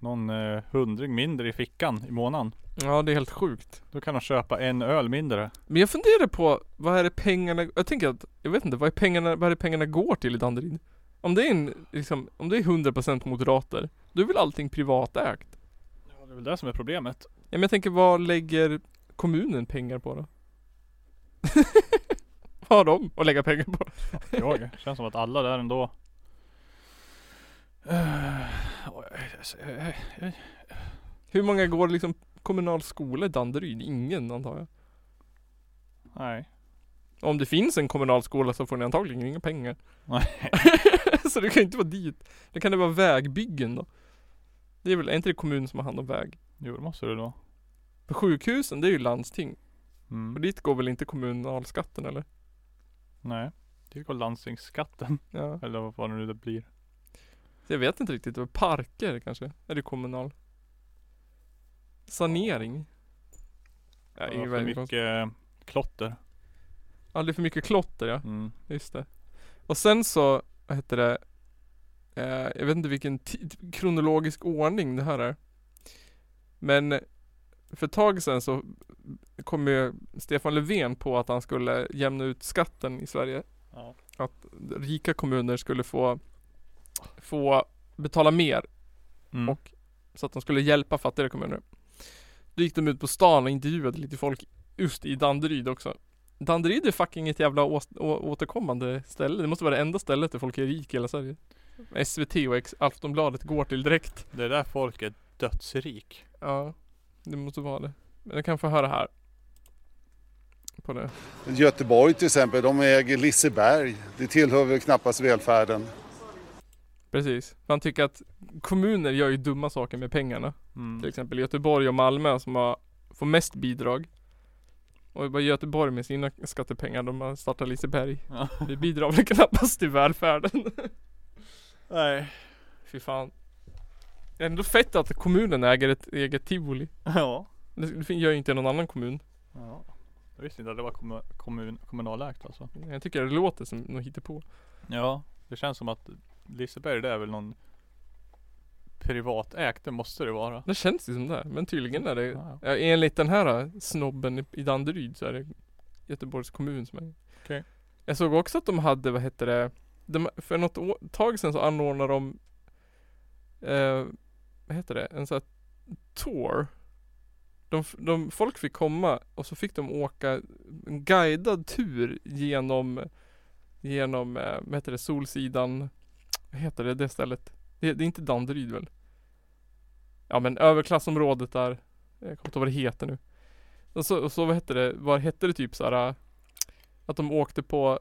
någon eh, hundring mindre i fickan i månaden.
Ja det är helt sjukt
Då kan de köpa en öl mindre.
Men jag funderar på, vad är det pengarna, jag tänker att, jag vet inte, vad är pengarna, vad är det pengarna går till i Danderyd? Om det är en, liksom, om det är 100% moderater, då är väl allting privatägt?
Ja, det är väl det som är problemet.
Ja men jag tänker, vad lägger kommunen pengar på då? (laughs) vad har de att lägga pengar på?
Jag känns som att alla där ändå. Eh, oj, eh, eh,
Hur många går liksom kommunal skola i Danderyd? Ingen antar jag.
Nej.
Om det finns en kommunal skola så får ni antagligen inga pengar.
Nej.
(laughs) så det kan ju inte vara dit. Då kan det vara vägbyggen då. Det är väl, är inte det kommunen som har hand om väg?
Jo det måste det då.
För sjukhusen, det är ju landsting. Och
Mm.
dit går väl inte kommunalskatten eller?
Nej. Det går landstingsskatten. (laughs)
Ja.
Eller vad det nu det blir.
Så jag vet inte riktigt. Det var parker kanske? Är det kommunal? Sanering? Ja,
Det
det är
var för mycket
väldigt konstigt.
eh, klotter.
Ja, det är för mycket klotter ja.
Mm.
Just det. Och sen så, vad heter det? Eh, jag vet inte vilken tid, kronologisk ordning det här är. Men för ett tag sedan så kom ju Stefan Löfven på att han skulle jämna ut skatten i Sverige.
Ja.
Att rika kommuner skulle få, få betala mer
Mm.
Och- så att de skulle hjälpa fattigare kommuner. Då gick de ut på stan och intervjuade lite folk just i Danderyd också. Danderyd är fucking ett jävla ås- å- återkommande ställe. Det måste vara det enda stället där folk är rika i hela Sverige. SVT och Ex- Aftonbladet går till direkt.
Det är där folk är dödsrik.
Ja, det måste vara det. Men jag kan få höra här. På det.
Göteborg till exempel, de äger Liseberg. Det tillhör väl knappast välfärden.
Precis. Man tycker att kommuner gör ju dumma saker med pengarna.
Mm.
Till exempel Göteborg och Malmö som har, får mest bidrag. Och bara Göteborg med sina skattepengar, de har startat Liseberg.
Ja.
Det bidrar väl knappast till välfärden.
Nej.
Fy fan. Det är ändå fett att kommunen äger ett eget tivoli.
(laughs) Ja.
Det det fin- gör ju inte någon annan kommun.
ja. Jag visste inte att det var kommun, kommun, kommunalägt alltså.
Jag tycker det låter som något hittepå.
Ja. Det känns som att Liseberg det är väl någon privatägt, det måste det vara.
Det känns ju som det, här, men tydligen är det
Ja.
Ja, enligt den här äh, snobben i- i Danderyd så är det Göteborgs kommun som är
Okej.
Jag såg också att de hade, vad hette det? De, för något å- tag sedan så anordnade de eh, Vad heter det? En sån här tour de, f- de, Folk fick komma och så fick de åka en guidad tur genom Genom, eh, vad heter det, Solsidan Vad heter det, det stället? Det, det är inte Danderyd väl? Ja men överklassområdet där jag kommer inte ihåg vad det heter nu. Och så, och så vad hette det, vad hette det typ såhär äh, Att de åkte på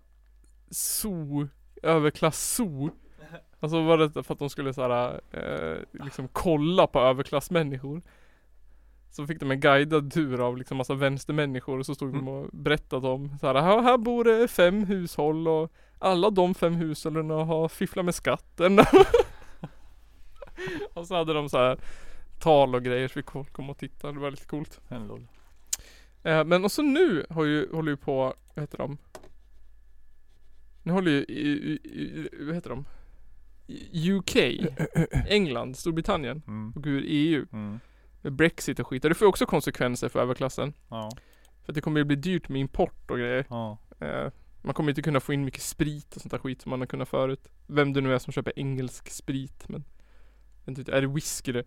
zoo, överklass zoo. Alltså var det för att de skulle såhär äh, liksom kolla på överklassmänniskor. Så fick de en guidad tur av liksom massa vänstermänniskor och så stod de och berättade om såhär, här, här bor det fem hushåll och alla de fem hushållen har fifflat med skatten. (laughs) och så hade de så här tal och grejer så vi kom kom och tittade. Det var lite coolt.
En lol.
Eh, men och så nu har ju, håller ju på, vad heter de? Nu håller ju, i, i, i, vad heter de? I- UK, England, Storbritannien
Mm.
och ur EU.
Mm.
Med Brexit och skit. Och det får ju också konsekvenser för överklassen.
Ja.
För att det kommer ju bli dyrt med import och grejer.
Ja.
Eh, man kommer inte kunna få in mycket sprit och sånt där skit som man har kunnat förut. Vem det nu är som köper engelsk sprit men. Jag vet inte, Är det whisky det?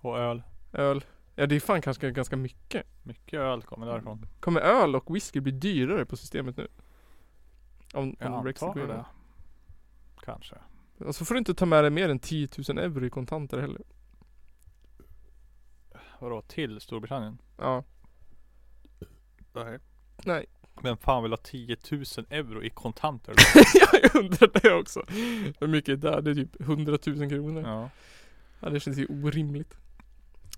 Och öl.
Öl? Ja det är fan kanske ganska mycket.
Mycket öl kommer därifrån.
Kommer öl och whisky bli dyrare på systemet nu? Om,
Jag
om Brexit
antar
går igenom.
det. Kanske.
Och så får du inte ta med dig mer än 10 000 euro i kontanter heller.
Vadå till Storbritannien?
Ja.
Nej. (laughs)
Nej.
Vem fan vill ha 10 000 euro i kontanter?
Jag undrar det också. Hur mycket är det? Det är typ 100 000 kronor. Ja.
(laughs) ja.
det känns ju orimligt.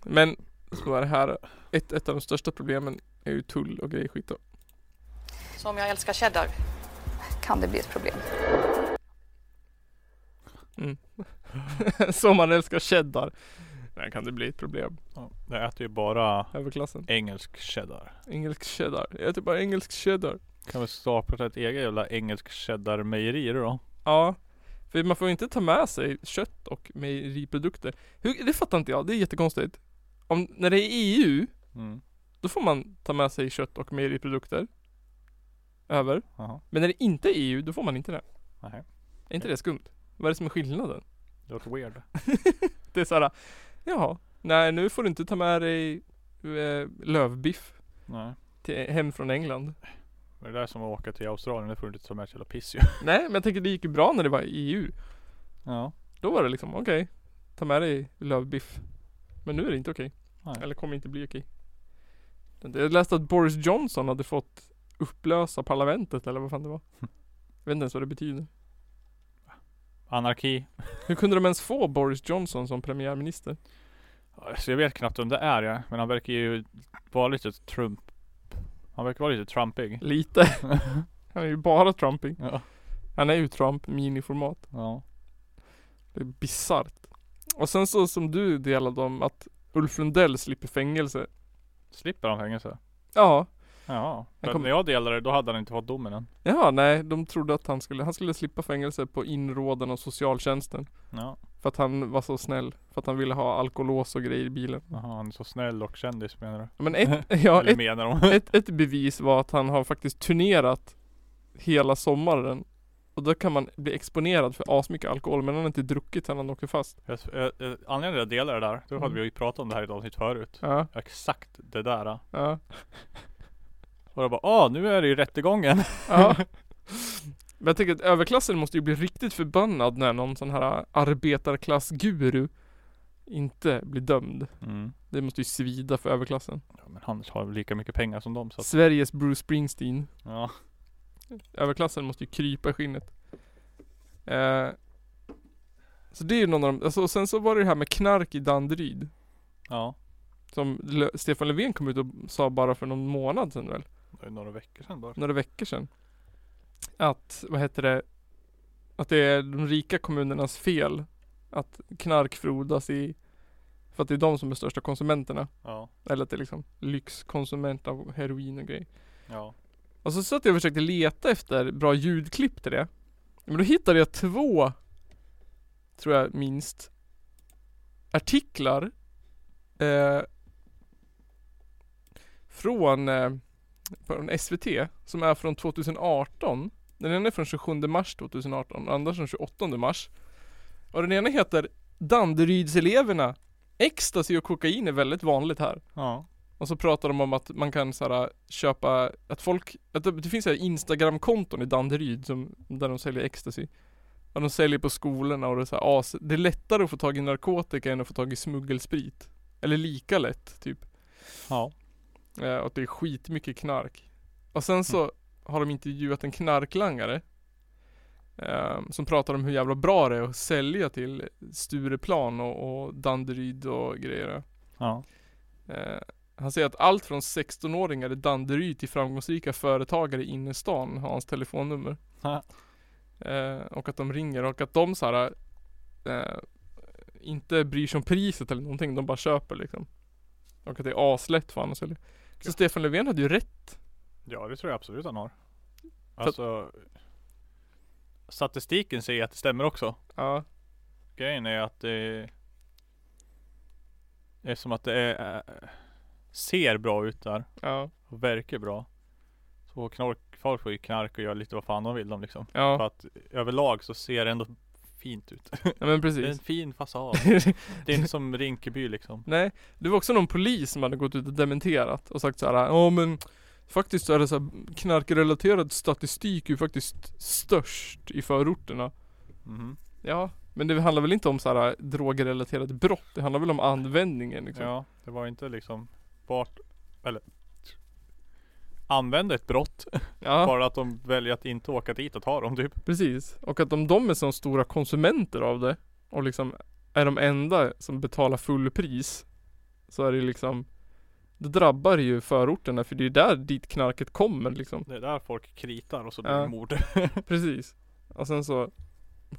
Men, så är det här. Ett, ett av de största problemen är ju tull och grejskit då.
Så om jag älskar cheddar kan det bli ett problem.
Mm. (laughs) Som man älskar cheddar. Där kan det bli ett problem.
ja. Det äter ju bara
Överklassen.
engelsk cheddar.
Engelsk cheddar. Jag äter bara engelsk cheddar.
Kan vi starta ett eget jävla engelsk cheddar-mejeri då?
Ja. För man får ju inte ta med sig kött och mejeriprodukter. Hur, det fattar inte jag, det är jättekonstigt. Om, när det är EU,
Mm.
då får man ta med sig kött och mejeriprodukter. Över.
Jaha.
Men när det inte är EU, då får man inte det.
Nej.
Är inte det skumt? Vad är det som är skillnaden?
Det låter weird.
Det är såhär, jaha, nej nu får du inte ta med dig eh, lövbiff
Nej.
till, hem från England.
Men det där som att åka till Australien, det får du inte ta med ett jävla piss ju.
nej, men jag tänker det gick ju bra när det var i E EU.
Ja.
Då var det liksom, okej, ta med dig lövbiff. Men nu är det inte okej.
Nej.
Eller kommer inte bli okej. Jag läste att Boris Johnson hade fått upplösa parlamentet eller vad fan det var. Jag vet inte ens vad det betyder.
Anarki.
Hur kunde de ens få Boris Johnson som premiärminister?
Alltså jag vet knappt vem det är jag. Men han verkar ju vara lite Trump. Han verkar vara lite trumpig.
Lite. Han är ju bara Trumping.
Ja.
Han är ju Trump miniformat.
Ja.
Det är bisarrt. Och sen så som du delade om att Ulf Lundell slipper fängelse.
Slipper han fängelse?
Ja.
Ja. Men
kom-
När jag delade det, då hade han inte fått domen än.
Ja, nej, de trodde att han skulle, han skulle slippa fängelse på inrådan av socialtjänsten.
Ja.
För att han var så snäll. För att han ville ha alkolås och grejer i bilen.
Jaha, han är så snäll och kändis menar du?
Men ett, (laughs) ja,
Eller
ett,
menar de?
ett, ett bevis var att han har faktiskt turnerat hela sommaren Och då kan man bli exponerad för asmycket alkohol men han har inte druckit sen han åker fast.
Jag, jag, jag, anledningen till att jag delar det där, då hade vi ju pratat om det här i ett avsnitt förut.
Ja,
Exakt det där. äh.
ja,
Och då bara, ah nu är det ju rättegången.
(laughs) ja. Men jag tänker att överklassen måste ju bli riktigt förbannad när någon sån här arbetarklassguru inte blir dömd.
Mm.
Det måste ju svida för överklassen.
Ja, men han har väl lika mycket pengar som dem så att,
Sveriges Bruce Springsteen.
ja.
Överklassen måste ju krypa i skinnet. Eh, så det är ju någon av de, alltså, och sen så var det det här med knark i Danderyd.
Ja.
Som Lö- Stefan Löfven kom ut och sa bara för någon månad sedan väl?
Det var ju några veckor sedan bara.
Några veckor sedan. Att, vad heter det? Att det är de rika kommunernas fel. Att knark frodas i, för att det är de som är största konsumenterna.
Ja.
Eller att det är liksom lyxkonsument av heroin och grejer.
Ja.
Och så satt jag och försökte leta efter bra ljudklipp till det. Men då hittade jag två, tror jag minst, artiklar eh, från, eh, från SVT som är från 2018. Den ena är från 27 mars 2018 och den andra från 28 mars. Och den ena heter Danderydseleverna. Ecstasy och kokain är väldigt vanligt här.
Ja.
Och så pratar de om att man kan så här, köpa, att folk, att det, det finns så här Instagram-konton i Danderyd som, där de säljer ecstasy. Och de säljer på skolorna och det är så här, as, det är lättare att få tag i narkotika än att få tag i smuggelsprit. Eller lika lätt, typ.
Ja.
Eh, och att det är skitmycket knark. Och sen så har de intervjuat en knarklangare. Eh, som pratar om hur jävla bra det är att sälja till Stureplan och, och Danderyd och grejer.
Ja.
Eh, han säger att allt från 16-åringar i Danderyd till framgångsrika företagare i innerstan har hans telefonnummer.
Ja.
Eh, och att de ringer och att de så här, eh, inte bryr sig om priset eller någonting. De bara köper liksom. Och att det är aslätt för honom att sälja. Så Stefan Löfven hade ju rätt.
Ja det tror jag absolut han har. Alltså. Statistiken säger att det stämmer också.
Ja,
Grejen är att det det är som att det är, äh, ser bra ut där
ja,
och verkar bra. Så knark, folk får ju knark och gör lite vad fan de vill de liksom. För
ja.
att överlag så ser det ändå fint ut. (laughs)
ja men
Det är en
precis.
fin fasad.
(laughs)
Det är inte som Rinkeby liksom.
Nej, det var också någon polis som hade gått ut och dementerat och sagt så här, ja men faktiskt så är det så här, knarkrelaterad statistik är ju faktiskt störst i förorterna.
Mhm.
Ja, men det handlar väl inte om så här drogrelaterade brott, det handlar väl om användningen liksom.
Ja, det var inte liksom vart, eller använde ett brott.
Ja,
Bara att de väljer att inte åka dit och ta dem typ.
precis. Och att om de är så stora konsumenter av det och liksom är de enda som betalar fullpris så är det liksom det drabbar ju förorterna för det är ju där dit knarket kommer liksom.
Det är där folk kritar och så blir
Ja.
det mord. (laughs)
Precis. Och sen så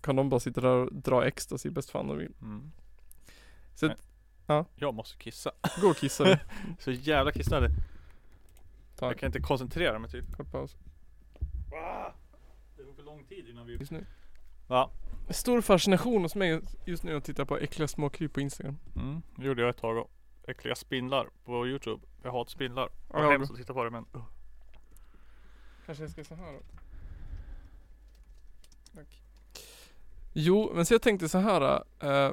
kan de bara sitta där och dra ecstasy bäst fan de vill.
Mm.
Så
Men-
att, ja.
Jag måste kissa.
gå
(laughs)
och kissa nu.
Så jävla kissnödig.
Ta en
Jag kan inte koncentrera mig typ.
kort paus.
Det tog för lång tid innan vi...
Just nu.
Va?
Stor fascination hos mig just nu att titta på äckliga småkryp på Instagram.
Mm, det gjorde jag ett tag och Äckliga spindlar på Youtube. Jag hatar spindlar.
Ja, jag
Vad hemskt att titta på det men.
Kanske jag ska så här då. Tack. Jo, men så jag tänkte så här. eh,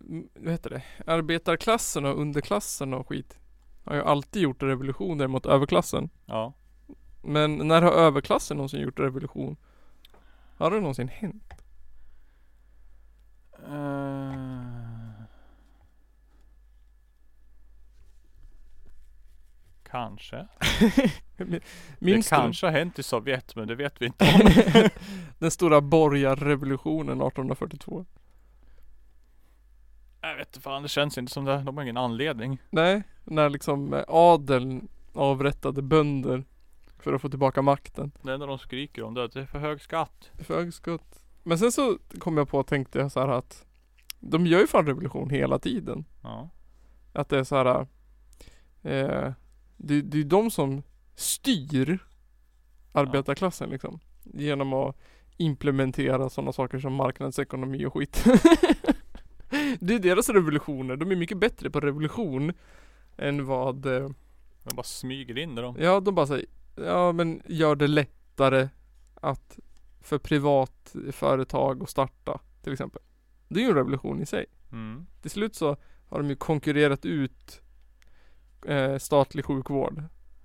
m- vad heter det? Arbetarklassen och underklassen och skit. Har ju alltid gjort revolutioner mot överklassen.
Ja.
Men när har överklassen någonsin gjort revolution? Har det någonsin hänt?
Eh. Kanske.
Minns
det
du
kanske (laughs) har hänt i Sovjet men det vet vi inte.
(laughs) den stora borgarrevolutionen 1842?
Jag vet inte fan, det känns inte som det. De har ingen anledning.
Nej, när liksom eh, adeln avrättade bönder för att få tillbaka makten.
Det enda de skriker om det är att det är för hög skatt.
För högskott. Men sen så kom jag på och tänkte så här att de gör ju fan revolution hela tiden.
Ja.
Att det är så här. Eh, det, det är de som styr arbetarklassen liksom. Genom att implementera sådana saker som marknadsekonomi och skit. det är deras revolutioner. De är mycket bättre på revolution än vad eh,
De bara smyger in i dem.
Ja, de bara säger Ja men gör det lättare att för privat företag att starta till exempel. Det är ju en revolution i sig.
Mm.
Till slut så har de ju konkurrerat ut eh, statlig sjukvård.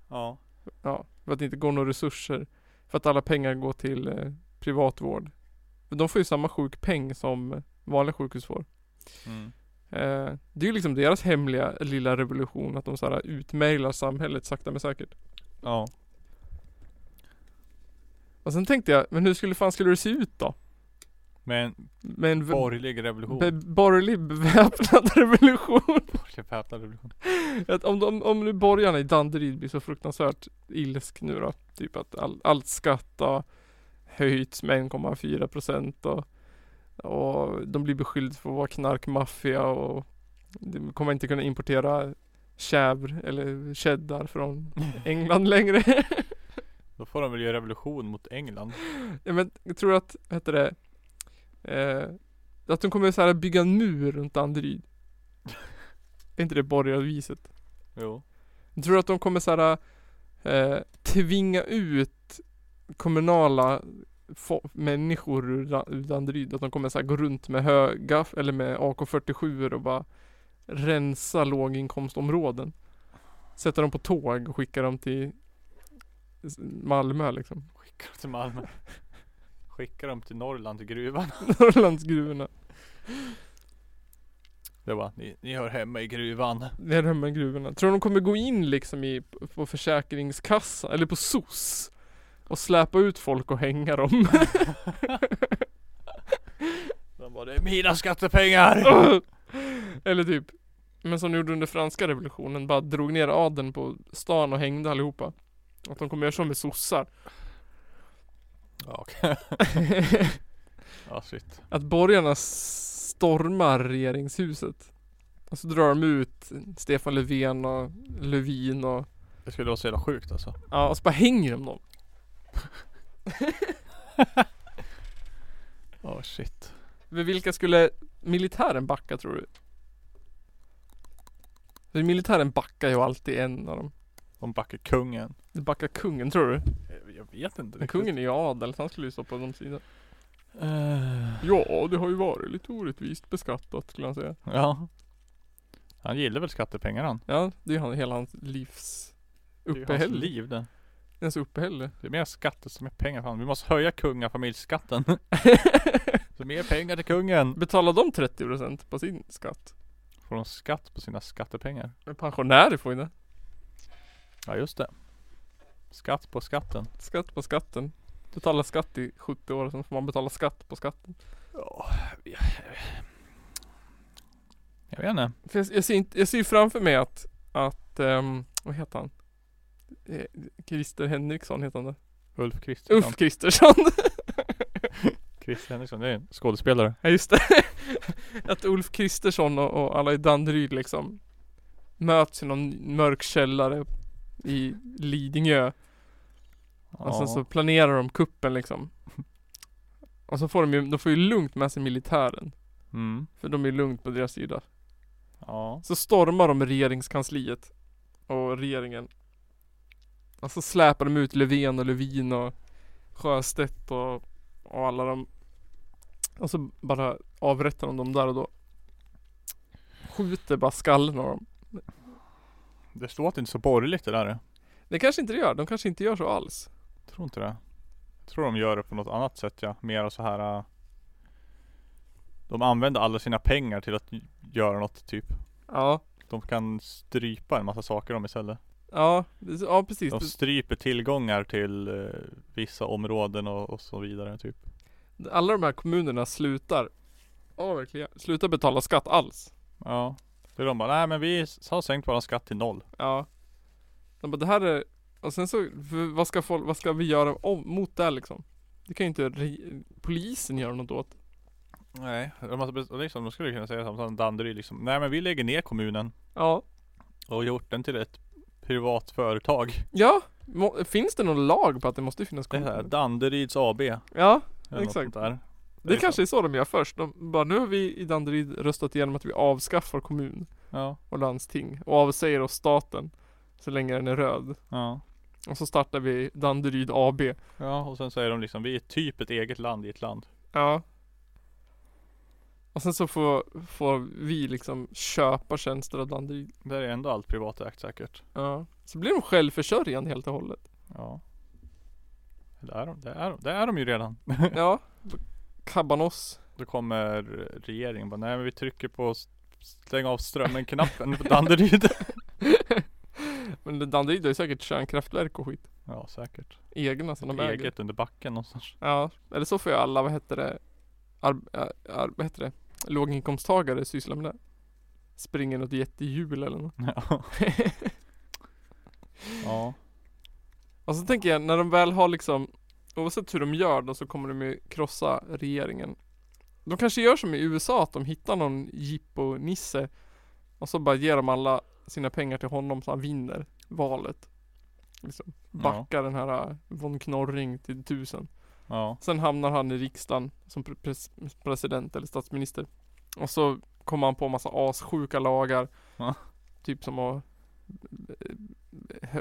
Ja.
Ja, för att det inte går några resurser. För att alla pengar går till eh, privatvård. Men de får ju samma sjukpeng som vanliga sjukhus får.
Mm.
Eh, det är ju liksom deras hemliga lilla revolution att de så här utmejlar samhället sakta men säkert.
Ja.
Och sen tänkte jag, men hur skulle fan skulle det se ut då?
Men
Med en v-
borgerlig revolution.
be- borgerlig (laughs) beväpnad revolution.
(laughs) Borgerlig väpnad revolution.
Att om, de, om nu borgarna i Danderyd blir så fruktansvärt ilsk nu då. Typ att all, allt skatt har höjts med 1,4 procent och, och de blir beskyllda för att vara knarkmaffia och de kommer inte kunna importera chèvre eller cheddar från England längre.
Då får de väl göra revolution mot England.
Ja, men jag tror att, vad heter det? Eh, att de kommer så här bygga en mur runt Danderyd. Är inte det borgarviset?
Jo.
Jag tror att de kommer såhär eh, tvinga ut kommunala fo- människor ur, Dan- ur Danderyd. Att de kommer såhär gå runt med höga, eller med AK47 och bara rensa låginkomstområden. Sätta dem på tåg och skicka dem till s- Malmö liksom. (laughs)
Skicka dem till Malmö. Skicka dem till Norrland, till gruvan.
Norrlandsgruvorna.
Det var ni, ni hör hemma i gruvan.
Det är det här med gruvorna. Tror du de kommer gå in liksom i, på försäkringskassa eller på SOS? Och släpa ut folk och hänga dem? (laughs)
De bara, det är mina (laughs) skattepengar!
Eller typ Men som de gjorde under franska revolutionen Bara drog ner adeln på stan och hängde allihopa Att de kommer göra så med sossar
Ja, okej. Ja, shit.
Att borgarna stormar regeringshuset Och så drar de ut Stefan Löfven och Lövin och
Det skulle vara så jävla sjukt alltså.
Ja och så bara hänger de dem
Ja, shit.
Men vilka skulle militären backa tror du? För militären backar ju alltid en av dem
De backar kungen.
De backar kungen tror du?
Jag vet inte
Men kungen är ju adel så han skulle ju stå på de sidan
Eh,
Ja, det har ju varit lite orättvist beskattat skulle han säga.
ja. Han gillar väl skattepengar han.
Ja, det är ju han, hela hans livs
Det är ju hans
uppehälle.
liv det.
Ens uppehälle.
Det är mer skatter som är pengar fan. Vi måste höja
(laughs)
kungafamiljsskatten. så mer pengar till kungen.
Betalar de 30% på sin skatt?
Får de skatt på sina skattepengar?
Men pensionärer får ju det.
Ja just det. Skatt på skatten.
Skatt på skatten. Betalar skatt i 70 år, sen får man betala skatt på skatten.
Ja. Jag vet inte.
För jag, jag, ser, inte, jag ser ju framför mig att, att ehm, vad heter han? Eh, Christer Henriksson heter han det.
Ulf Kristersson.
Ulf Kristersson!
Christer Henriksson, det är en skådespelare.
(laughs) Ja just det. (laughs) Att Ulf Kristersson och, och alla i Danderyd liksom möts i någon mörk källare i Lidingö.
Ja.
Och sen så planerar de kuppen (laughs) liksom. Och så får de ju, de får ju lugnt med sig militären.
Mm.
För de är lugnt på deras sida.
Ja.
Så stormar de regeringskansliet. Och regeringen. Och så släpar de ut Löfven och Lövin och Sjöstedt och, och alla de. Och så bara avrättar de dem där och då. Skjuter bara skallen av dem.
Det står att det inte är så borgerligt det där. Jag
Det kanske inte det gör. De kanske inte gör så alls.
tror inte det. Jag tror de gör det på något annat sätt ja. Mer så här. äh, De använder alla sina pengar till att göra något typ.
Ja.
De kan strypa en massa saker om istället.
Ja, det- ja precis.
De stryper tillgångar till eh, vissa områden och, och så vidare typ.
Alla de här kommunerna slutar. Ja verkligen. Slutar betala skatt alls.
Ja. Då är de bara, nej men vi s- har sänkt våran skatt till noll.
Ja. De bara, det här är, och sen så, v- vad ska folk, vad ska vi göra om, mot det här liksom? Det kan ju inte re, polisen göra något åt.
Nej. De, har bes- och liksom, de skulle kunna säga som- som Danderyd liksom, nej men vi lägger ner kommunen
Ja.
och gjort den till ett privat företag.
Ja. Må, finns det någon lag på att det måste finnas
Det är så här,
kommuner?
Danderyds AB. eller
Ja.
något
Exakt.
sånt Där.
Det, kanske är så de gör först. De bara, nu har vi i Danderyd röstat igenom att vi avskaffar kommun
Ja.
och landsting och avsäger oss staten. Så länge den är röd.
Ja.
Och så startar vi Danderyd AB.
Ja, och sen säger de liksom, vi är typ ett eget land i ett land.
Ja. Och sen så får, får vi liksom köpa tjänster av Danderyd.
Där är ändå allt privatägt säkert.
Ja. Så blir de självförsörjande helt och hållet.
Ja. Det är de, det är de, det är de ju redan.
Ja. Kabanoss.
Då kommer regeringen bara, nej men vi trycker på s- stäng av strömmen-knappen på Danderyd.
(laughs)
(laughs)
Men Danderyd har ju säkert kärnkraftverk och skit.
Ja, säkert.
Egna som de äger.
Eget under backen
(laughs)
någonstans.
Ja. Eller så får ju alla, vad heter det, arb- äh, ar- vad heter det? låginkomsttagare syssla med det. Springer något jättehjul eller något.
Ja. ja.
(laughs) Och så tänker jag när de väl har liksom Oavsett hur de gör då så kommer de ju krossa regeringen De kanske gör som i USA att de hittar någon jippo-nisse Och så bara ger de alla sina pengar till honom så han vinner valet liksom
Ja.
Backar den här äh, von Knorring till tusen
ja.
Sen hamnar han i riksdagen som pre- pres- president eller statsminister Och så kommer han på massa assjuka lagar
Ja.
Typ som att eh,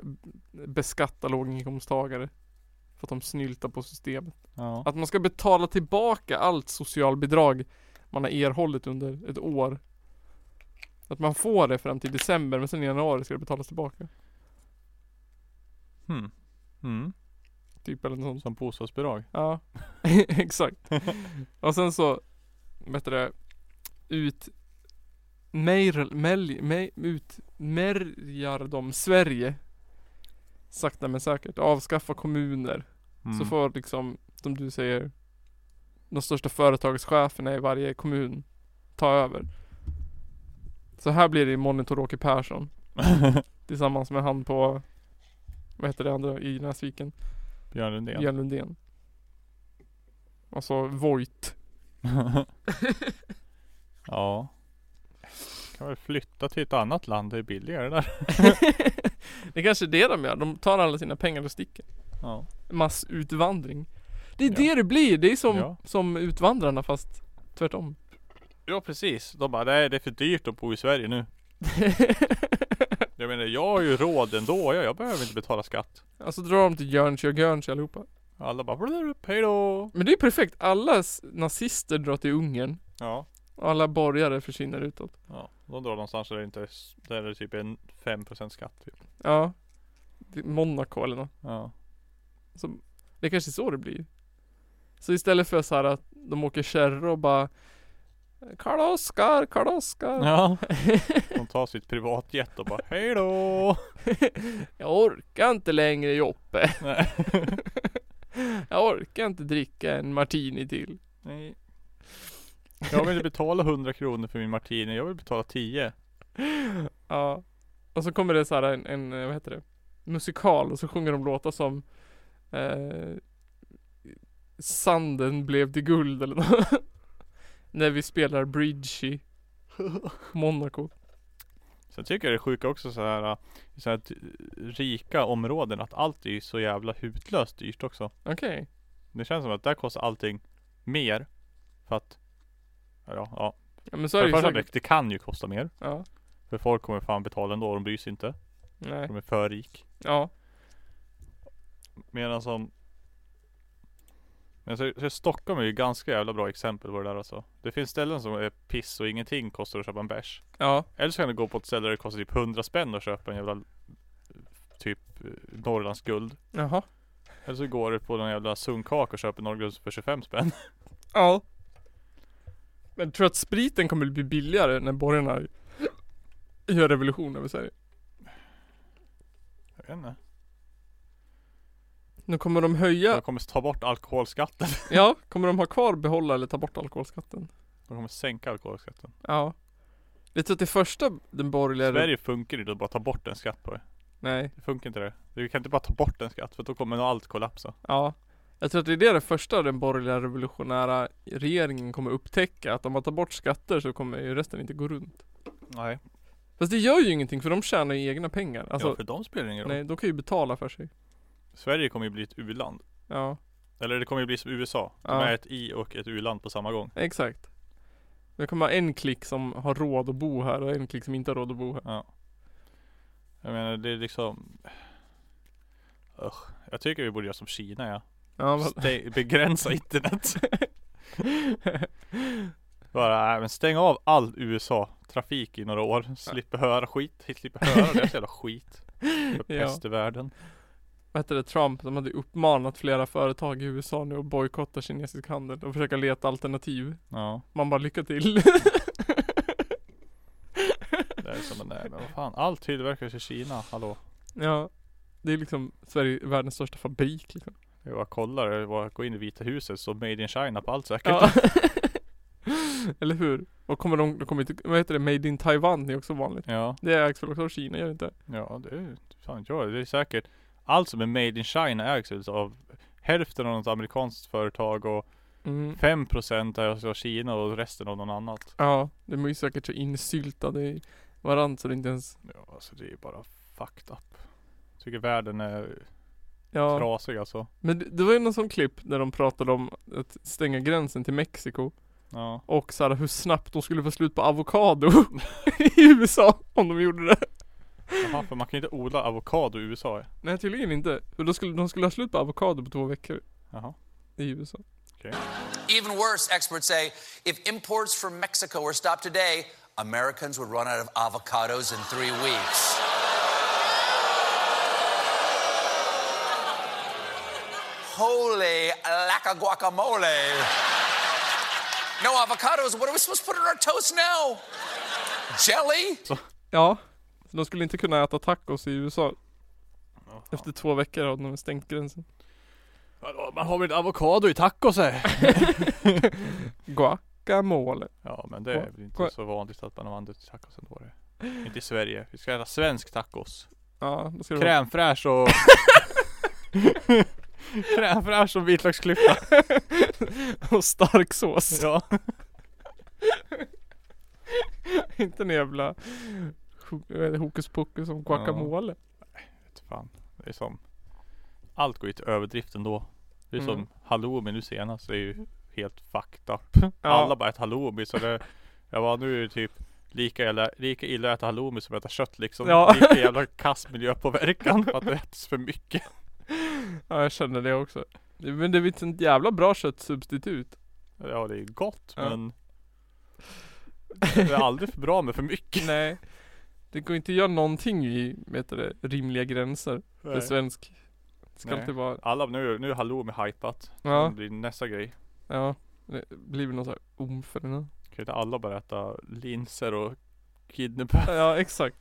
beskatta låginkomsttagare För att de snyltar på systemet
Ja.
Att man ska betala tillbaka allt socialbidrag man har erhållit under ett år Att man får det fram till december men sen i januari ska det betalas tillbaka
Hmm. Mm.
Typ eller något sånt
Som bostadsbidrag.
Ja, (laughs) exakt. Och sen så, vad heter det, ut mejrl- mel- mej- utmärjar de Sverige sakta men säkert. Avskaffa kommuner.
Mm.
Så får liksom, som du säger, de största företagscheferna i varje kommun ta över. Så här blir det i Monitor Åke Persson. Tillsammans med han på, vad heter det andra, i Näsviken.
(laughs) Björn Lundén.
Björn Lundén.
(laughs)
Alltså Voight.
ja. Kan väl flytta till ett annat land, det är billigare där.
Det är kanske är det de gör. De tar alla sina pengar och sticker.
Ja.
Massutvandring. Det är
Ja.
det det blir. Det är som,
Ja.
som utvandrarna fast
(laughs)
tvärtom.
Ja precis, de bara nej det är för dyrt att bo i Sverige nu. Jag menar jag har ju råd ändå, jag, jag behöver inte betala skatt.
alltså drar de till Guernsey och Guernsey allihopa.
Alla bara "Blurp, hejdå.
Men det är ju perfekt. Alla s- nazister drar till Ungern.
Ja.
Och alla borgare försvinner utåt.
ja. De drar någonstans där det inte är, s- där det är typ en 5% skatt typ.
Ja. Det är Monaco eller något.
Ja.
Så det är kanske är så det blir. Så istället för så här att de åker kärror och bara Karl-Oskar, Karl-Oskar.
ja. De tar sitt privatjet och bara hejdå.
(laughs) Jag orkar inte längre Joppe.
Nej.
(laughs) Jag orkar inte dricka en martini till.
Nej. Jag vill inte betala 100 kronor för min martini, jag vill betala 10.
Ja. Och så kommer det så här en, en eh, vad heter det? Musikal och så sjunger de låtar som eh, Sanden blev till guld eller något. (laughs) När vi spelar bridge i Monaco.
Sen tycker jag det är sjuka också så här äh, i så här t- rika områden att allt är ju så jävla hutlöst dyrt också.
Okej.
Det känns som att där kostar allting mer för att Ja, ja.
Ja men så är
För
det
det,
ju
första, det,
säkert.
det kan ju kosta mer.
Ja.
För folk kommer fan betala ändå, de bryr sig inte.
Nej.
De är för rik.
Ja.
Medan som men så, så Stockholm är ju ganska jävla bra exempel på det där alltså. Det finns ställen som är piss och ingenting kostar att köpa en bärs.
Ja.
Eller så kan du gå på ett ställe där det kostar typ 100 spänn att köpa en jävla Typ eh, Norrlands guld.
Jaha.
Eller så går du på någon jävla sunkak och köper Norrlands för 25 spänn.
Ja. Men tror du att spriten kommer bli billigare när borgarna gör revolution över Sverige?
Jag vet inte.
Nu kommer de höja,
De kommer ta bort alkoholskatten. (laughs)
ja, kommer de ha kvar, behålla eller ta bort alkoholskatten?
De kommer sänka alkoholskatten.
Ja. Jag tror att det första den borgerliga...
Sverige funkar inte att bara ta bort en skatt på det.
Nej.
Det funkar inte det. Vi kan inte bara ta bort en skatt för då kommer nog allt kollapsa.
Ja. Jag tror att det är det det första den borgerliga revolutionära regeringen kommer upptäcka. Att om man tar bort skatter så kommer ju resten inte gå runt.
Nej.
Fast det gör ju ingenting för de tjänar ju egna pengar. Alltså,
ja, för de spelar ingen roll.
nej, de kan ju betala för sig.
Sverige kommer ju bli ett u-land.
Ja.
Eller det kommer ju bli som USA. De
Ja.
är ett i och ett u-land på samma gång.
Exakt. Det kommer ha en klick som har råd att bo här och en klick som inte har råd att bo här.
Jag menar det är liksom Usch. Jag tycker vi borde göra som Kina ja.
Ja, (laughs) vad-
Stäng, begränsa internet. (laughs) Bara, nej, men stäng av all USA-trafik i några år. Slipper höra skit. Slipper höra deras jävla skit. För
(laughs) Ja.
pest i världen.
vad hette det, Trump, de hade uppmanat flera företag i USA nu att bojkotta kinesisk handel och försöka leta alternativ.
Ja.
Man bara lycka till.
Det är som, nej men vad fan. Allt tillverkas i Kina. Hallå.
ja. Det är liksom Sverige, världens största fabrik liksom.
Jag bara kollar. Jag bara går in i Vita huset. Så Made in China på allt säkert.
Ja. (laughs) Eller hur? Och kommer de, de kommer inte, vad heter det, Made in Taiwan är också vanligt.
(laughs) ja.
Det ägs väl också av Kina, gör det inte?
Ja, det är fan jag. Det är säkert. Allt som är made in China ägs väl av hälften av något amerikanskt företag och
Mm.
5% är alltså av Kina och resten av någon annat.
Ja, de är ju säkert så insyltade i varandra så det inte ens,
Ja, alltså det är bara fucked up. Jag tycker världen är
ja.
trasig alltså.
Men det, det var ju någon sån klipp där de pratade om att stänga gränsen till Mexiko
Ja.
och så här, hur snabbt de skulle få slut på avokado (laughs) i USA om de gjorde det.
Jaha, för man kan ju inte odla avokado i USA.
Nej tydligen inte. För då skulle, de skulle ha slut på avokado på två veckor
Jaha.
i USA.
Even worse, experts say if imports from Mexico were stopped today, Americans would run out of avocados in three weeks. Holy lack of guacamole. No avocados. What are we supposed to put in our toast now? Jelly?
Ja. Så de skulle inte kunna äta tacos i USA. Efter två veckor hade de stängt gränsen.
Hallå, man har väl inte avokado i tacos eh? här?
Guacamole.
(laughs) Ja, men det är väl inte så vanligt att man använder till tacos ändå. (laughs) det. Inte i Sverige. Vi ska äta svensk tacos.
Ja, då ska det vara-
Crème fraîche (laughs) och... Crème fraîche och vitlöksklyfta.
och stark
(laughs)
sås.
Ja.
(laughs) inte en jävla ho- vad är det, hokus pokus som guacamole.
Vet Fan. Det är som... Allt går ju till överdrift ändå. Det är som
Mm.
halloumi nu senast. Det är ju helt fucked up.
Ja.
Alla bara äter halloumi så det... Jag var nu är det typ lika illa, lika illa att äta halloumi som att äta kött liksom.
Ja.
Lika jävla kass
(laughs)
miljöpåverkan för att det äts för mycket.
Ja, jag känner det också. Det- Men det är ett sånt jävla bra (laughs) köttsubstitut.
Ja det är ju gott
Ja.
men... Det är aldrig för bra med för
(laughs)
mycket.
Nej. Det går inte att göra någonting i, vad heter det, rimliga gränser. För svensk. Det ska
Nej.
alltid vara,
Alla, nu, nu är halloumi hypat.
Ja.
Det blir nästa grej.
ja. Det blir väl någon sån här omf eller något.
Kan inte alla bara äta linser och kidnappa?
Ja, exakt.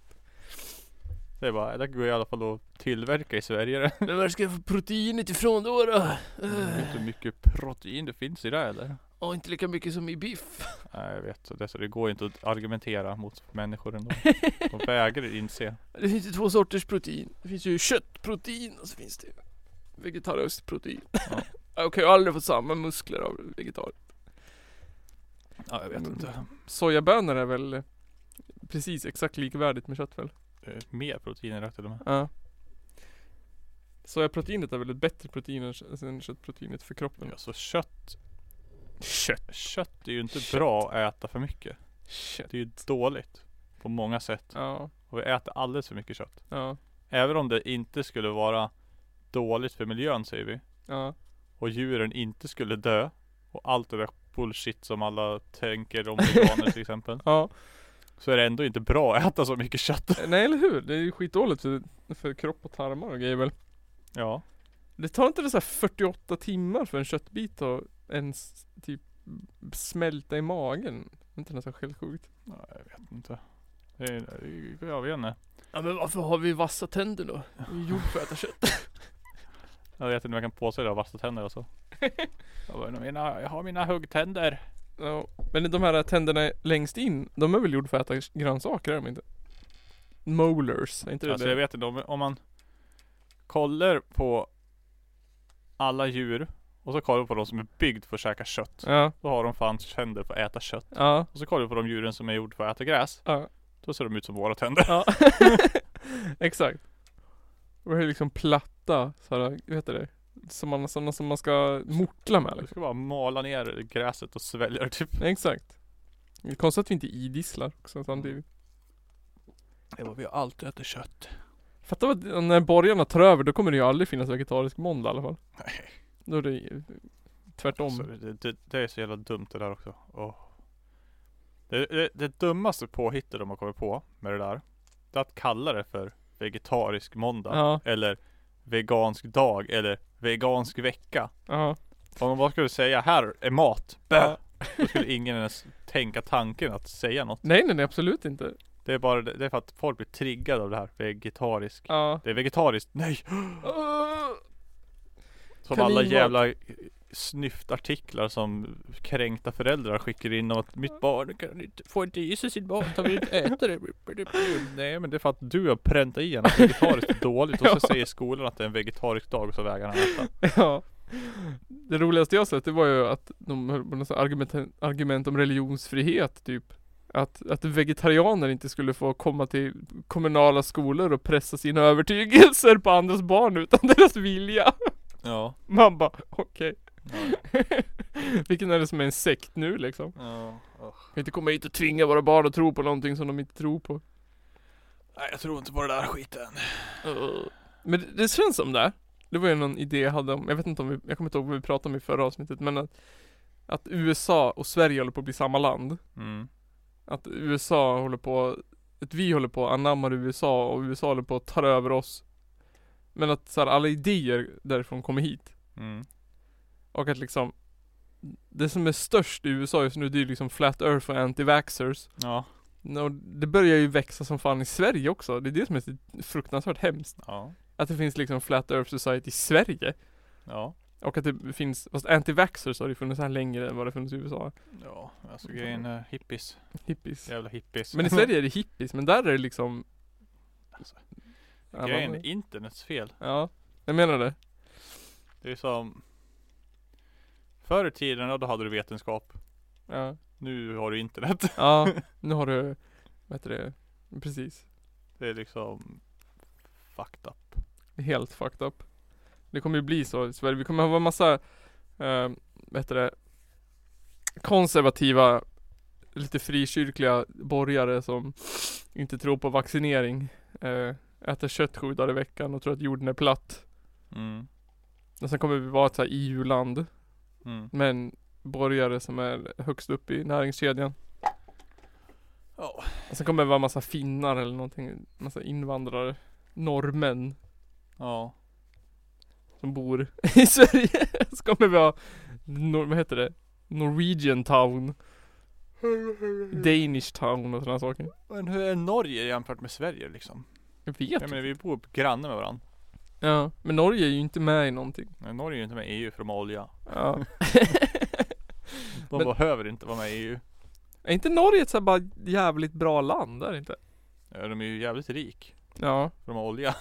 Det är bara, det går i alla fall att tillverka i Sverige det.
Men var ska jag få proteinet ifrån då då? Mm,
Jag vet inte hur mycket protein det finns i det eller?
Ja, inte lika mycket som i (laughs) biff.
Nej jag vet, det, så det går inte att argumentera mot människor ändå. De vägrar inse.
Det finns ju två sorters protein. Det finns ju köttprotein och så finns det vegetariskt protein. (laughs)
Ja.
Jag kan ju aldrig få samma muskler av vegetar.
Ja jag vet
Mm.
inte.
Sojabönor är väl precis exakt likvärdigt med kött väl?
Det är Mer protein rätt till och med.
Ja. Sojaproteinet är väl ett bättre protein än, kö- än köttproteinet för kroppen?
Ja, så Alltså, kött,
Kött.
kött är ju inte
Kött.
bra att äta för mycket.
Kött.
Det är ju dåligt. På många sätt.
Ja,
Och vi äter alldeles för mycket kött.
ja,
Även om det inte skulle vara dåligt för miljön säger vi.
ja.
och djuren inte skulle dö och allt det där bullshit som alla tänker
(laughs)
om veganer till exempel
ja.
så är det ändå inte bra att äta så mycket kött.
Nej eller hur? Det är ju skitdåligt för, för kropp och tarmar och grejer väl?
Ja,
Det tar inte det så här 48 timmar för en köttbit att ens typ smälta i magen. Det är inte nästan helt sjukt.
Nej, jag vet inte. Det är, det är- jag vet inte.
Ja men varför har vi vassa tänder då? Vi är gjord för att äta kött.
Jag vet inte om jag kan påstå det av vassa tänder (laughs) alltså. Jag, bara, mina, jag har mina huggtänder.
(laughs) Ja. Men de här tänderna längst in, de är väl gjorda för att äta grönsaker är de inte? Molars, är inte det
Alltså
det?
jag vet inte om, om man kollar på alla djur och så kollar man på de som är byggd för att käka kött.
Ja,
Då har de fan tänder för att äta kött.
ja,
Och så kollar vi på de djuren som är gjorda för att äta gräs.
ja.
Då ser de ut som våra tänder.
ja. (laughs) Exakt. Och det är liksom platta, såhär, vad heter det? Som man, sådana som man ska mortla med
Du
liksom.
ska bara mala ner gräset och svälja det typ.
Exakt. Det är
Mm.
konstigt att vi inte idisslar också samtidigt.
vi har alltid ätit kött.
Fattar vad, när borgarna tar över då kommer det ju aldrig finnas vegetarisk måndag i alla fall.
Nej.
Då är det ju tvärtom.
Så Alltså, det, det, det är så jävla dumt det där också. Åh. Det, det, det dummaste påhittet de har kommit på med det där. Det är att kalla det för vegetarisk måndag.
Ja.
Eller vegansk dag. Eller vegansk vecka.
Ja.
Om de bara skulle säga här är mat. Bä!
Ja.
Då skulle ingen ens tänka tanken att säga något.
Nej nej nej absolut inte.
Det är bara det, det är för att folk blir triggade av det här. Vegetarisk.
Ja.
Det är vegetariskt. Nej!
Åh.
Som
Kaninmat.
alla jävla snyftartiklar som kränkta föräldrar skickar in om att mitt barn kan inte, får inte i sig sitt mat, han vill inte äta det. Nej men det är för att du har präntat i honom att vegetariskt (laughs) är dåligt och så säger skolan att det är en vegetarisk dag och så vägrar han äta.
(laughs) Ja. Det roligaste jag sett det var ju att de höll på något sånt här argument, argument om religionsfrihet typ. Att, att vegetarianer inte skulle få komma till kommunala skolor och pressa sina övertygelser på andras barn utan (laughs) deras vilja.
Ja.
Man bara okej. (laughs) Vilken är det som är en sekt nu liksom?
ja.
Vi kan inte komma hit och tvinga våra barn att tro på någonting som de inte tror på.
Nej jag tror inte på det där skiten.
Men det, det känns som det. Det var ju någon idé jag hade om, jag vet inte om vi, jag kommer inte ihåg vad vi pratade om i förra avsnittet men att, att USA och Sverige håller på att bli samma land.
Mm.
Att USA håller på, att vi håller på att anamma USA och USA håller på att ta över oss. Men att så här, alla idéer därifrån kommer hit.
Mm.
Och att liksom Det som är störst i USA just nu det är ju liksom flat earth och anti-vaxxers.
Ja.
Och det börjar ju växa som fan i Sverige också. Det är det som är så fruktansvärt hemskt.
Ja.
Att det finns liksom Flat Earth Society i Sverige.
Ja.
Och att det finns, fast anti-vaxxers har det ju funnits här längre än vad det funnits i USA.
Ja. Alltså grejen är hippies.
Hippies.
Jävla hippies.
Men
(laughs)
i Sverige är det hippies, men där är det liksom
Alltså,
Ja,
Grejen
man-
är internets fel.
Ja, jag menar det.
Det är som Förr i tiden, ja, då hade du vetenskap.
Ja,
Nu har du internet. (laughs)
ja nu har du, vad heter det, precis.
Det är liksom fucked up.
Helt fucked up. Det kommer ju bli så i Sverige. Vi kommer ha en massa, eh, vad heter det, konservativa, lite frikyrkliga borgare som inte tror på vaccinering. Eh, äter kött sju dagar i veckan och tror att jorden är platt.
Mm.
Och sen kommer vi vara ett så här EU-land.
Mm.
Men borgare som är högst upp i näringskedjan.
Ja.
Och sen kommer det vara massa finnar eller någonting. Massa invandrare. Norrmän.
Ja.
som bor (laughs) i Sverige. Så kommer vi ha, nor- vad heter det? Norwegian town. Danish town och sådana saker.
Men hur är Norge jämfört med Sverige liksom?
Jag
Jag
vet
menar
inte.
vi bor granne med varandra.
Ja, men Norge är ju inte med i någonting.
Men Norge är ju inte med i EU för de har olja.
Ja.
De
Men-
behöver inte vara med i EU.
(laughs) Är inte Norge ett så här bara jävligt bra land? Är det inte?
Ja, De är ju jävligt rik.
Ja,
För de har olja.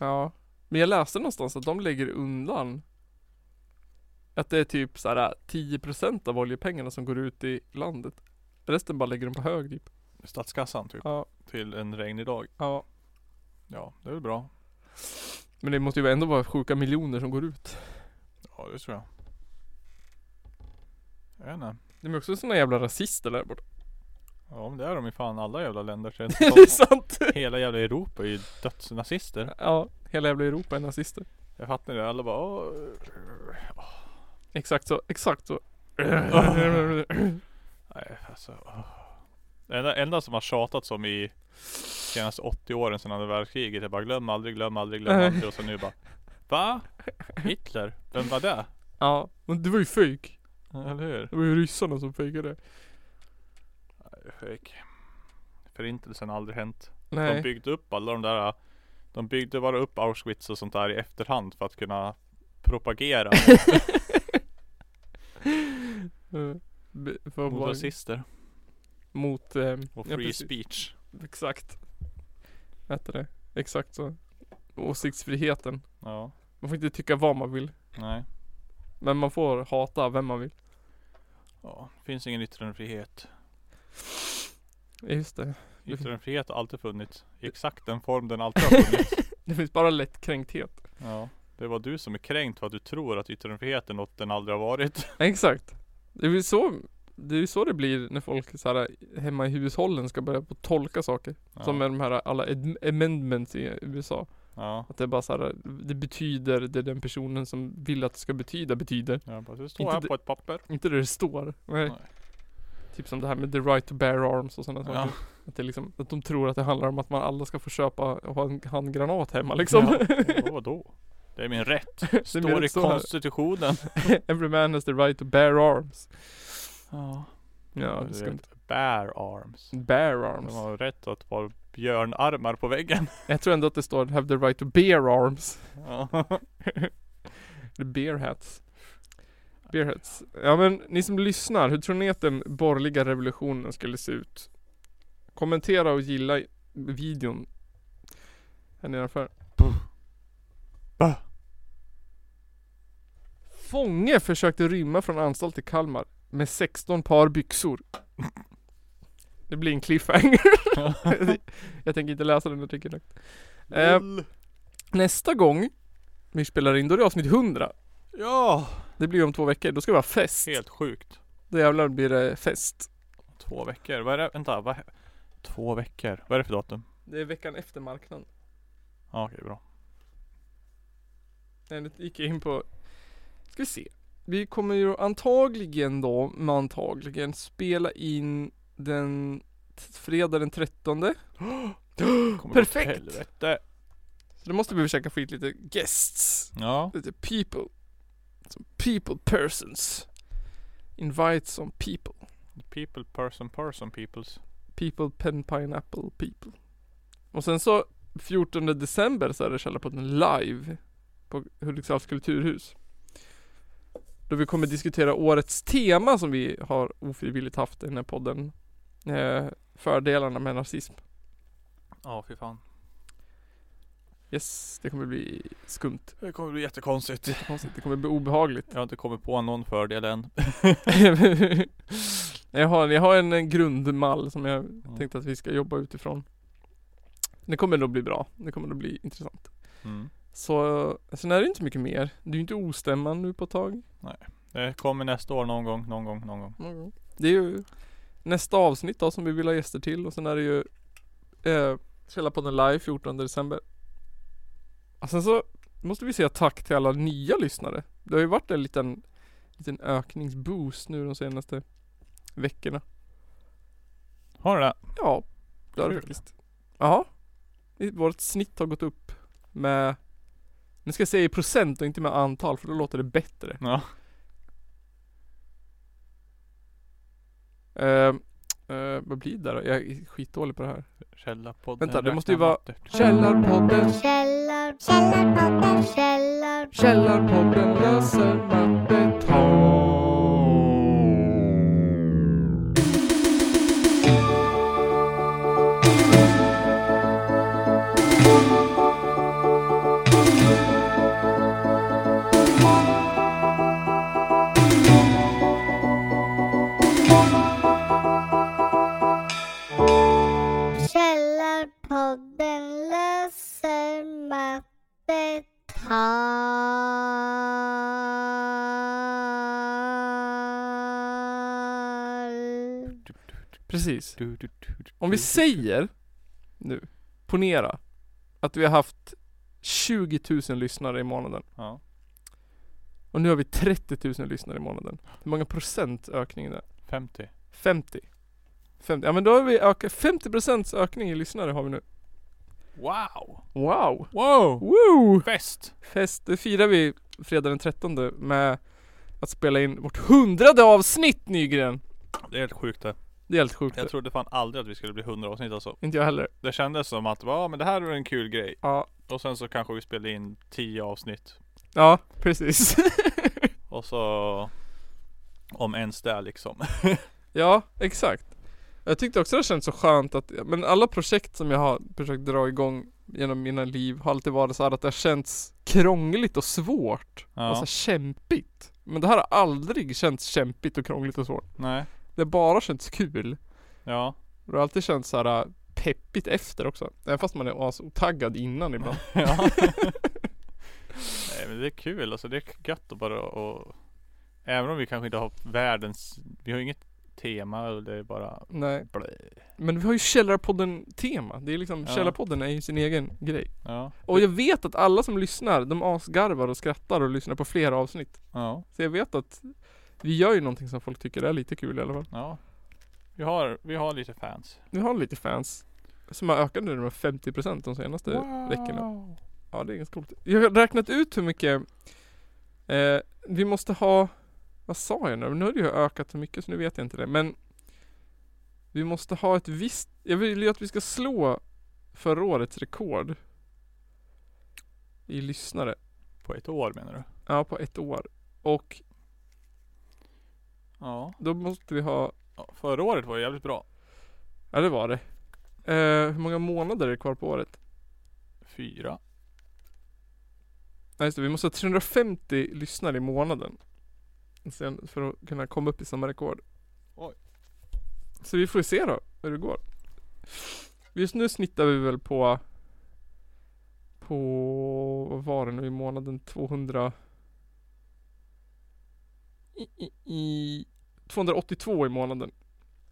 ja. Men jag läste någonstans att de lägger undan att det är typ så här 10% av oljepengarna som går ut i landet. Resten bara lägger de på hög typ.
(laughs) Statskassan typ.
Ja,
Till en regnig dag.
ja.
Ja, det är väl bra.
Men det måste ju ändå vara sjuka miljoner som går ut.
Ja, det tror jag. Jag vet inte.
De är också såna jävla rasister där borta.
Ja, men det är de i fan alla jävla länder. (laughs) Så jag
Det
vet inte
är
om-
sant!
Hela jävla Europa är ju dödsnazister.
Ja, hela jävla Europa är nazister.
Jag fattar det. Alla bara "Åh, (laughs)
Exakt så, exakt så.
Nej alltså. åh." Det enda, enda som har tjatat om i senaste 80 åren sedan andra världskriget är bara glöm aldrig, glöm aldrig, glöm
Nej.
aldrig. Och så nu bara Va? Hitler? Vem var det?
Ja, men det var ju fejk.
Eller hur?
Det var ju ryssarna som fejkade.
Fake. Förintelsen har aldrig hänt. De
Nej.
byggde upp alla de där. De byggde bara upp Auschwitz och sånt där i efterhand för att kunna
(laughs)
propagera
Eh, b- För att
mot
vara
rasister
mot... ehm,
och
ja,
free
precis.
speech.
Exakt. Hette det. Exakt så. Åsiktsfriheten.
Ja.
Man får inte tycka vad man vill.
Nej.
Men man får hata vem man vill.
Ja. Finns ingen
(laughs)
yttrandefrihet.
Ja, Just det.
Yttrandefrihet har alltid funnits. I exakt den form den alltid har funnits.
Det finns bara lättkränkthet.
Ja. Det var du som är kränkt för att du tror att yttrandefriheten något den aldrig har
(laughs)
varit.
Exakt. Det är ju så det, är ju så det blir när folk så här, hemma i hushållen ska börja på att tolka saker.
Ja.
Som är de här alla ad- amendments i USA.
Ja.
Att det är bara så här, det betyder det den personen som vill att det ska betyda betyder.
Ja, bara, det står
Inte
här
det-
på ett papper.
Inte det det står. Nej.
Nej.
Typ som det här med the right to bear arms och sådana
Ja.
saker. Att, det är liksom, att de tror att det handlar om att man alla ska få köpa och ha en handgranat (laughs) hemma liksom. (laughs)
Ja, vadå? Det är min rätt.
Det är mer
Står i
än så här.
konstitutionen.
Every man has the right to bear arms.
Ja.
(laughs) Ja, det
du
ska
vet,
inte.
Bear arms.
Bear
De
arms.
har rätt att vara björnarmar på väggen. (laughs)
Jag tror ändå att det står have the right to bear arms.
Ja.
Eller (laughs) beer hats. Beer hats. Ja men ni som lyssnar, hur tror ni att den borgerliga revolutionen skulle se ut? Kommentera och gilla i- videon. Här nedanför.
Bah.
Fånge försökte rymma från anstalt i Kalmar med 16 par byxor. Det blir en cliffhanger. (laughs) Jag tänker inte läsa den artikeln. högt. Eh, nästa gång vi spelar in, då är det avsnitt 100.
ja.
Det blir om två veckor, då ska vi ha fest.
Helt sjukt.
Då jävlar blir det fest.
Två veckor. Vad är det? Vänta. Vad? Två veckor. Vad är det för datum?
Det är veckan efter marknaden.
Ja, okej bra.
Nej, nu gick jag in på... Ska vi se. Vi kommer ju antagligen då, men antagligen, spela in den t- fredag den 13.
Kommer gå åt
Perfekt!
Helvete.
Så då måste vi försöka få hit lite guests.
Ja.
Lite people. Som people persons. Invite some people.
People, person, person, peoples.
People Pen Pineapple People. Och sen så 14 december så är det Källarpodden live på Hudiksvalls kulturhus. Då vi kommer diskutera årets tema som vi har ofrivilligt haft i den här podden. Eh, fördelarna med nazism.
Ja, fy fan.
Yes, det kommer bli skumt.
Det kommer bli jättekonstigt.
Konstigt, det kommer
(laughs)
bli obehagligt.
Jag har inte kommit på någon fördel än.
jag, har, jag har en eh, grundmall som jag
Ja.
tänkte att vi ska jobba utifrån. Det kommer nog bli bra. Det kommer nog bli intressant.
Mm.
Så sen är det inte mycket mer. Det är ju inte ostämman nu på ett tag.
Det Eh, kommer nästa år någon gång, någon gång, någon gång.
Det är ju nästa avsnitt då som vi vill ha gäster till och sen är det ju eh, Källarpodden live 14 december. Och sen så måste vi säga tack till alla nya lyssnare. Det har ju varit en liten, liten ökningsboost nu de senaste veckorna.
Har du det?
Ja, det har det
Kul.
faktiskt. Ja. Vårt snitt har gått upp med, nu ska jag säga i procent och inte med antal för då låter det bättre.
Ja.
Eh, eh, vad blir det då? Jag är skitdålig på det här.
Källarpodden.
Vänta, det måste ju vara-
Räknamatter.
Källarpodden,
Källar, källarpodden, källar,
Källarpodden läser mattetal.
källarpodden löser mattetal.
Precis.
Du, du, du, du,
Om vi
du.
säger nu, ponera att vi har haft 20 000 lyssnare i månaden.
Ja.
Och nu har vi 30 000 lyssnare i månaden. Hur många procent ökning är det?
50.
50. 50. Ja men då har vi ökat, 50 procents ökning i lyssnare har vi nu.
Wow!
Wow!
Wow!
Woo!
Fest!
Fest, det firar vi fredag den 13 med att spela in vårt hundrade avsnitt Nygren!
Det är helt sjukt det.
Det är helt sjukt.
Jag trodde fan aldrig att vi skulle bli 100 avsnitt alltså.
Inte jag heller.
Det kändes som att, ja men det här är en kul grej.
Ja,
Och sen så kanske vi spelade in 10 avsnitt.
ja precis. (laughs)
Och så... Om ens det liksom.
Ja, exakt. Jag tyckte också det kändes så skönt att, men alla projekt som jag har försökt dra igång genom mina liv har alltid varit så här att det har känts krångligt och svårt. Och så här
Ja.
Alltså, kämpigt. Men det här har aldrig känts kämpigt och krångligt och svårt.
Nej.
Det har bara känts kul.
Ja.
Och det har alltid känts så här äh, peppigt efter också. Även fast man är asotaggad
(laughs)
innan ibland.
Ja.
(laughs)
Nej men det är kul alltså. Det är gött att bara och... Även om vi kanske inte har världens... Vi har inget tema och det är bara...
Nej.
Blä.
Men vi har ju Källarpodden-tema. Det är liksom,
Ja.
Källarpodden är ju sin egen grej.
Ja.
Och jag vet att alla som lyssnar, de asgarvar och skrattar och lyssnar på flera avsnitt.
Ja.
Så jag vet att vi gör ju någonting som folk tycker är lite kul i alla fall.
Ja. Vi har, vi har lite fans.
Vi har lite fans som har ökat nu med 50% de senaste veckorna. Ja, det är ganska coolt. Jag har räknat ut hur mycket eh, vi måste ha, vad sa jag nu? Nu har det ju ökat så mycket så nu vet jag inte det. Men vi måste ha ett visst, jag vill ju att vi ska slå förra årets rekord i lyssnare.
På ett år menar du?
Ja, på ett år. Och
Ja.
då måste vi ha,
ja. Förra året var det jävligt bra.
ja det var det. Eh, hur många månader är det kvar på året?
Fyra.
Nej just det, vi måste ha 350 lyssnare i månaden. Sen för att kunna komma upp i samma rekord.
Oj.
Så vi får ju se då hur det går. Just nu snittar vi väl på på, vad var det nu i månaden? 200 i, i, i 282 i månaden.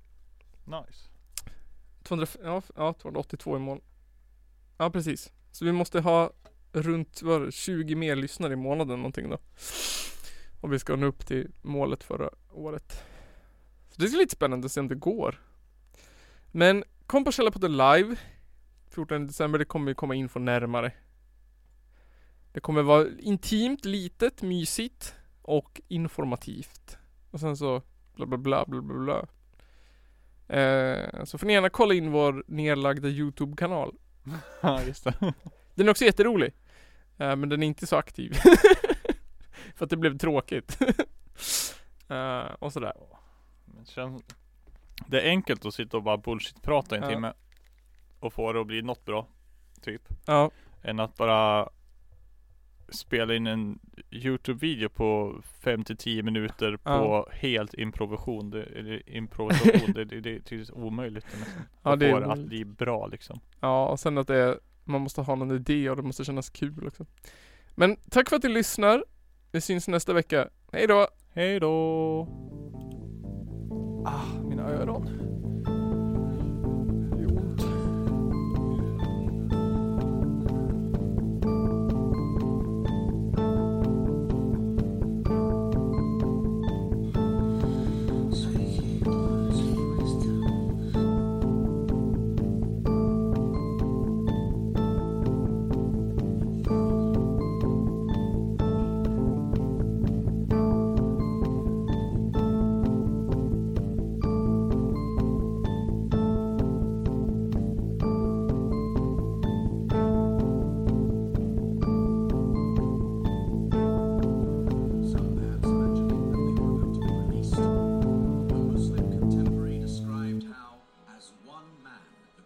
(laughs)
Nice.
200, ja, f- ja, 282 i månaden. Ja precis. Så vi måste ha runt vad, var det, 20 mer lyssnare i månaden någonting då. Om vi ska nå upp till målet förra året. Så det är lite spännande att se om det går. Men kom på Källarpodden live. 14 december, det kommer ju komma info närmare. Det kommer vara intimt, litet, mysigt och informativt. Och sen så bla bla bla bla bla bla. Eh, så får ni gärna kolla in vår nedlagda Youtube-kanal.
Ja just det.
Den är också jätterolig. Eh, men den är inte så aktiv. (laughs) För att det blev tråkigt. (laughs) eh, och sådär.
Men det känns... Det är enkelt att sitta och bara bullshit-prata i en
Ja.
timme. Och få det att bli något bra. Typ.
Ja,
Än att bara spela in en Youtube-video på 5-10 minuter på
Ja.
helt improvisation. Det, eller
(laughs)
improvisation. det, det, det är tydligt omöjligt nästan.
ja
att
det
få
är
det att bli bra liksom.
Ja, och sen att det är, man måste ha någon idé och det måste kännas kul också. Men tack för att du lyssnar. Vi syns nästa vecka. Hej då!
Hej då! Ah, mina öron. Det gör ont.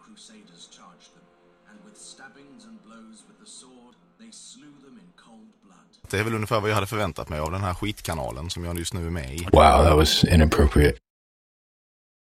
Crusaders charged them, and with stabbings and blows with the sword, they slew them in cold blood.
Det är väl ungefär vad jag hade förväntat mig av den här skitkanalen som jag just nu är med i.
Wow, that was inappropriate.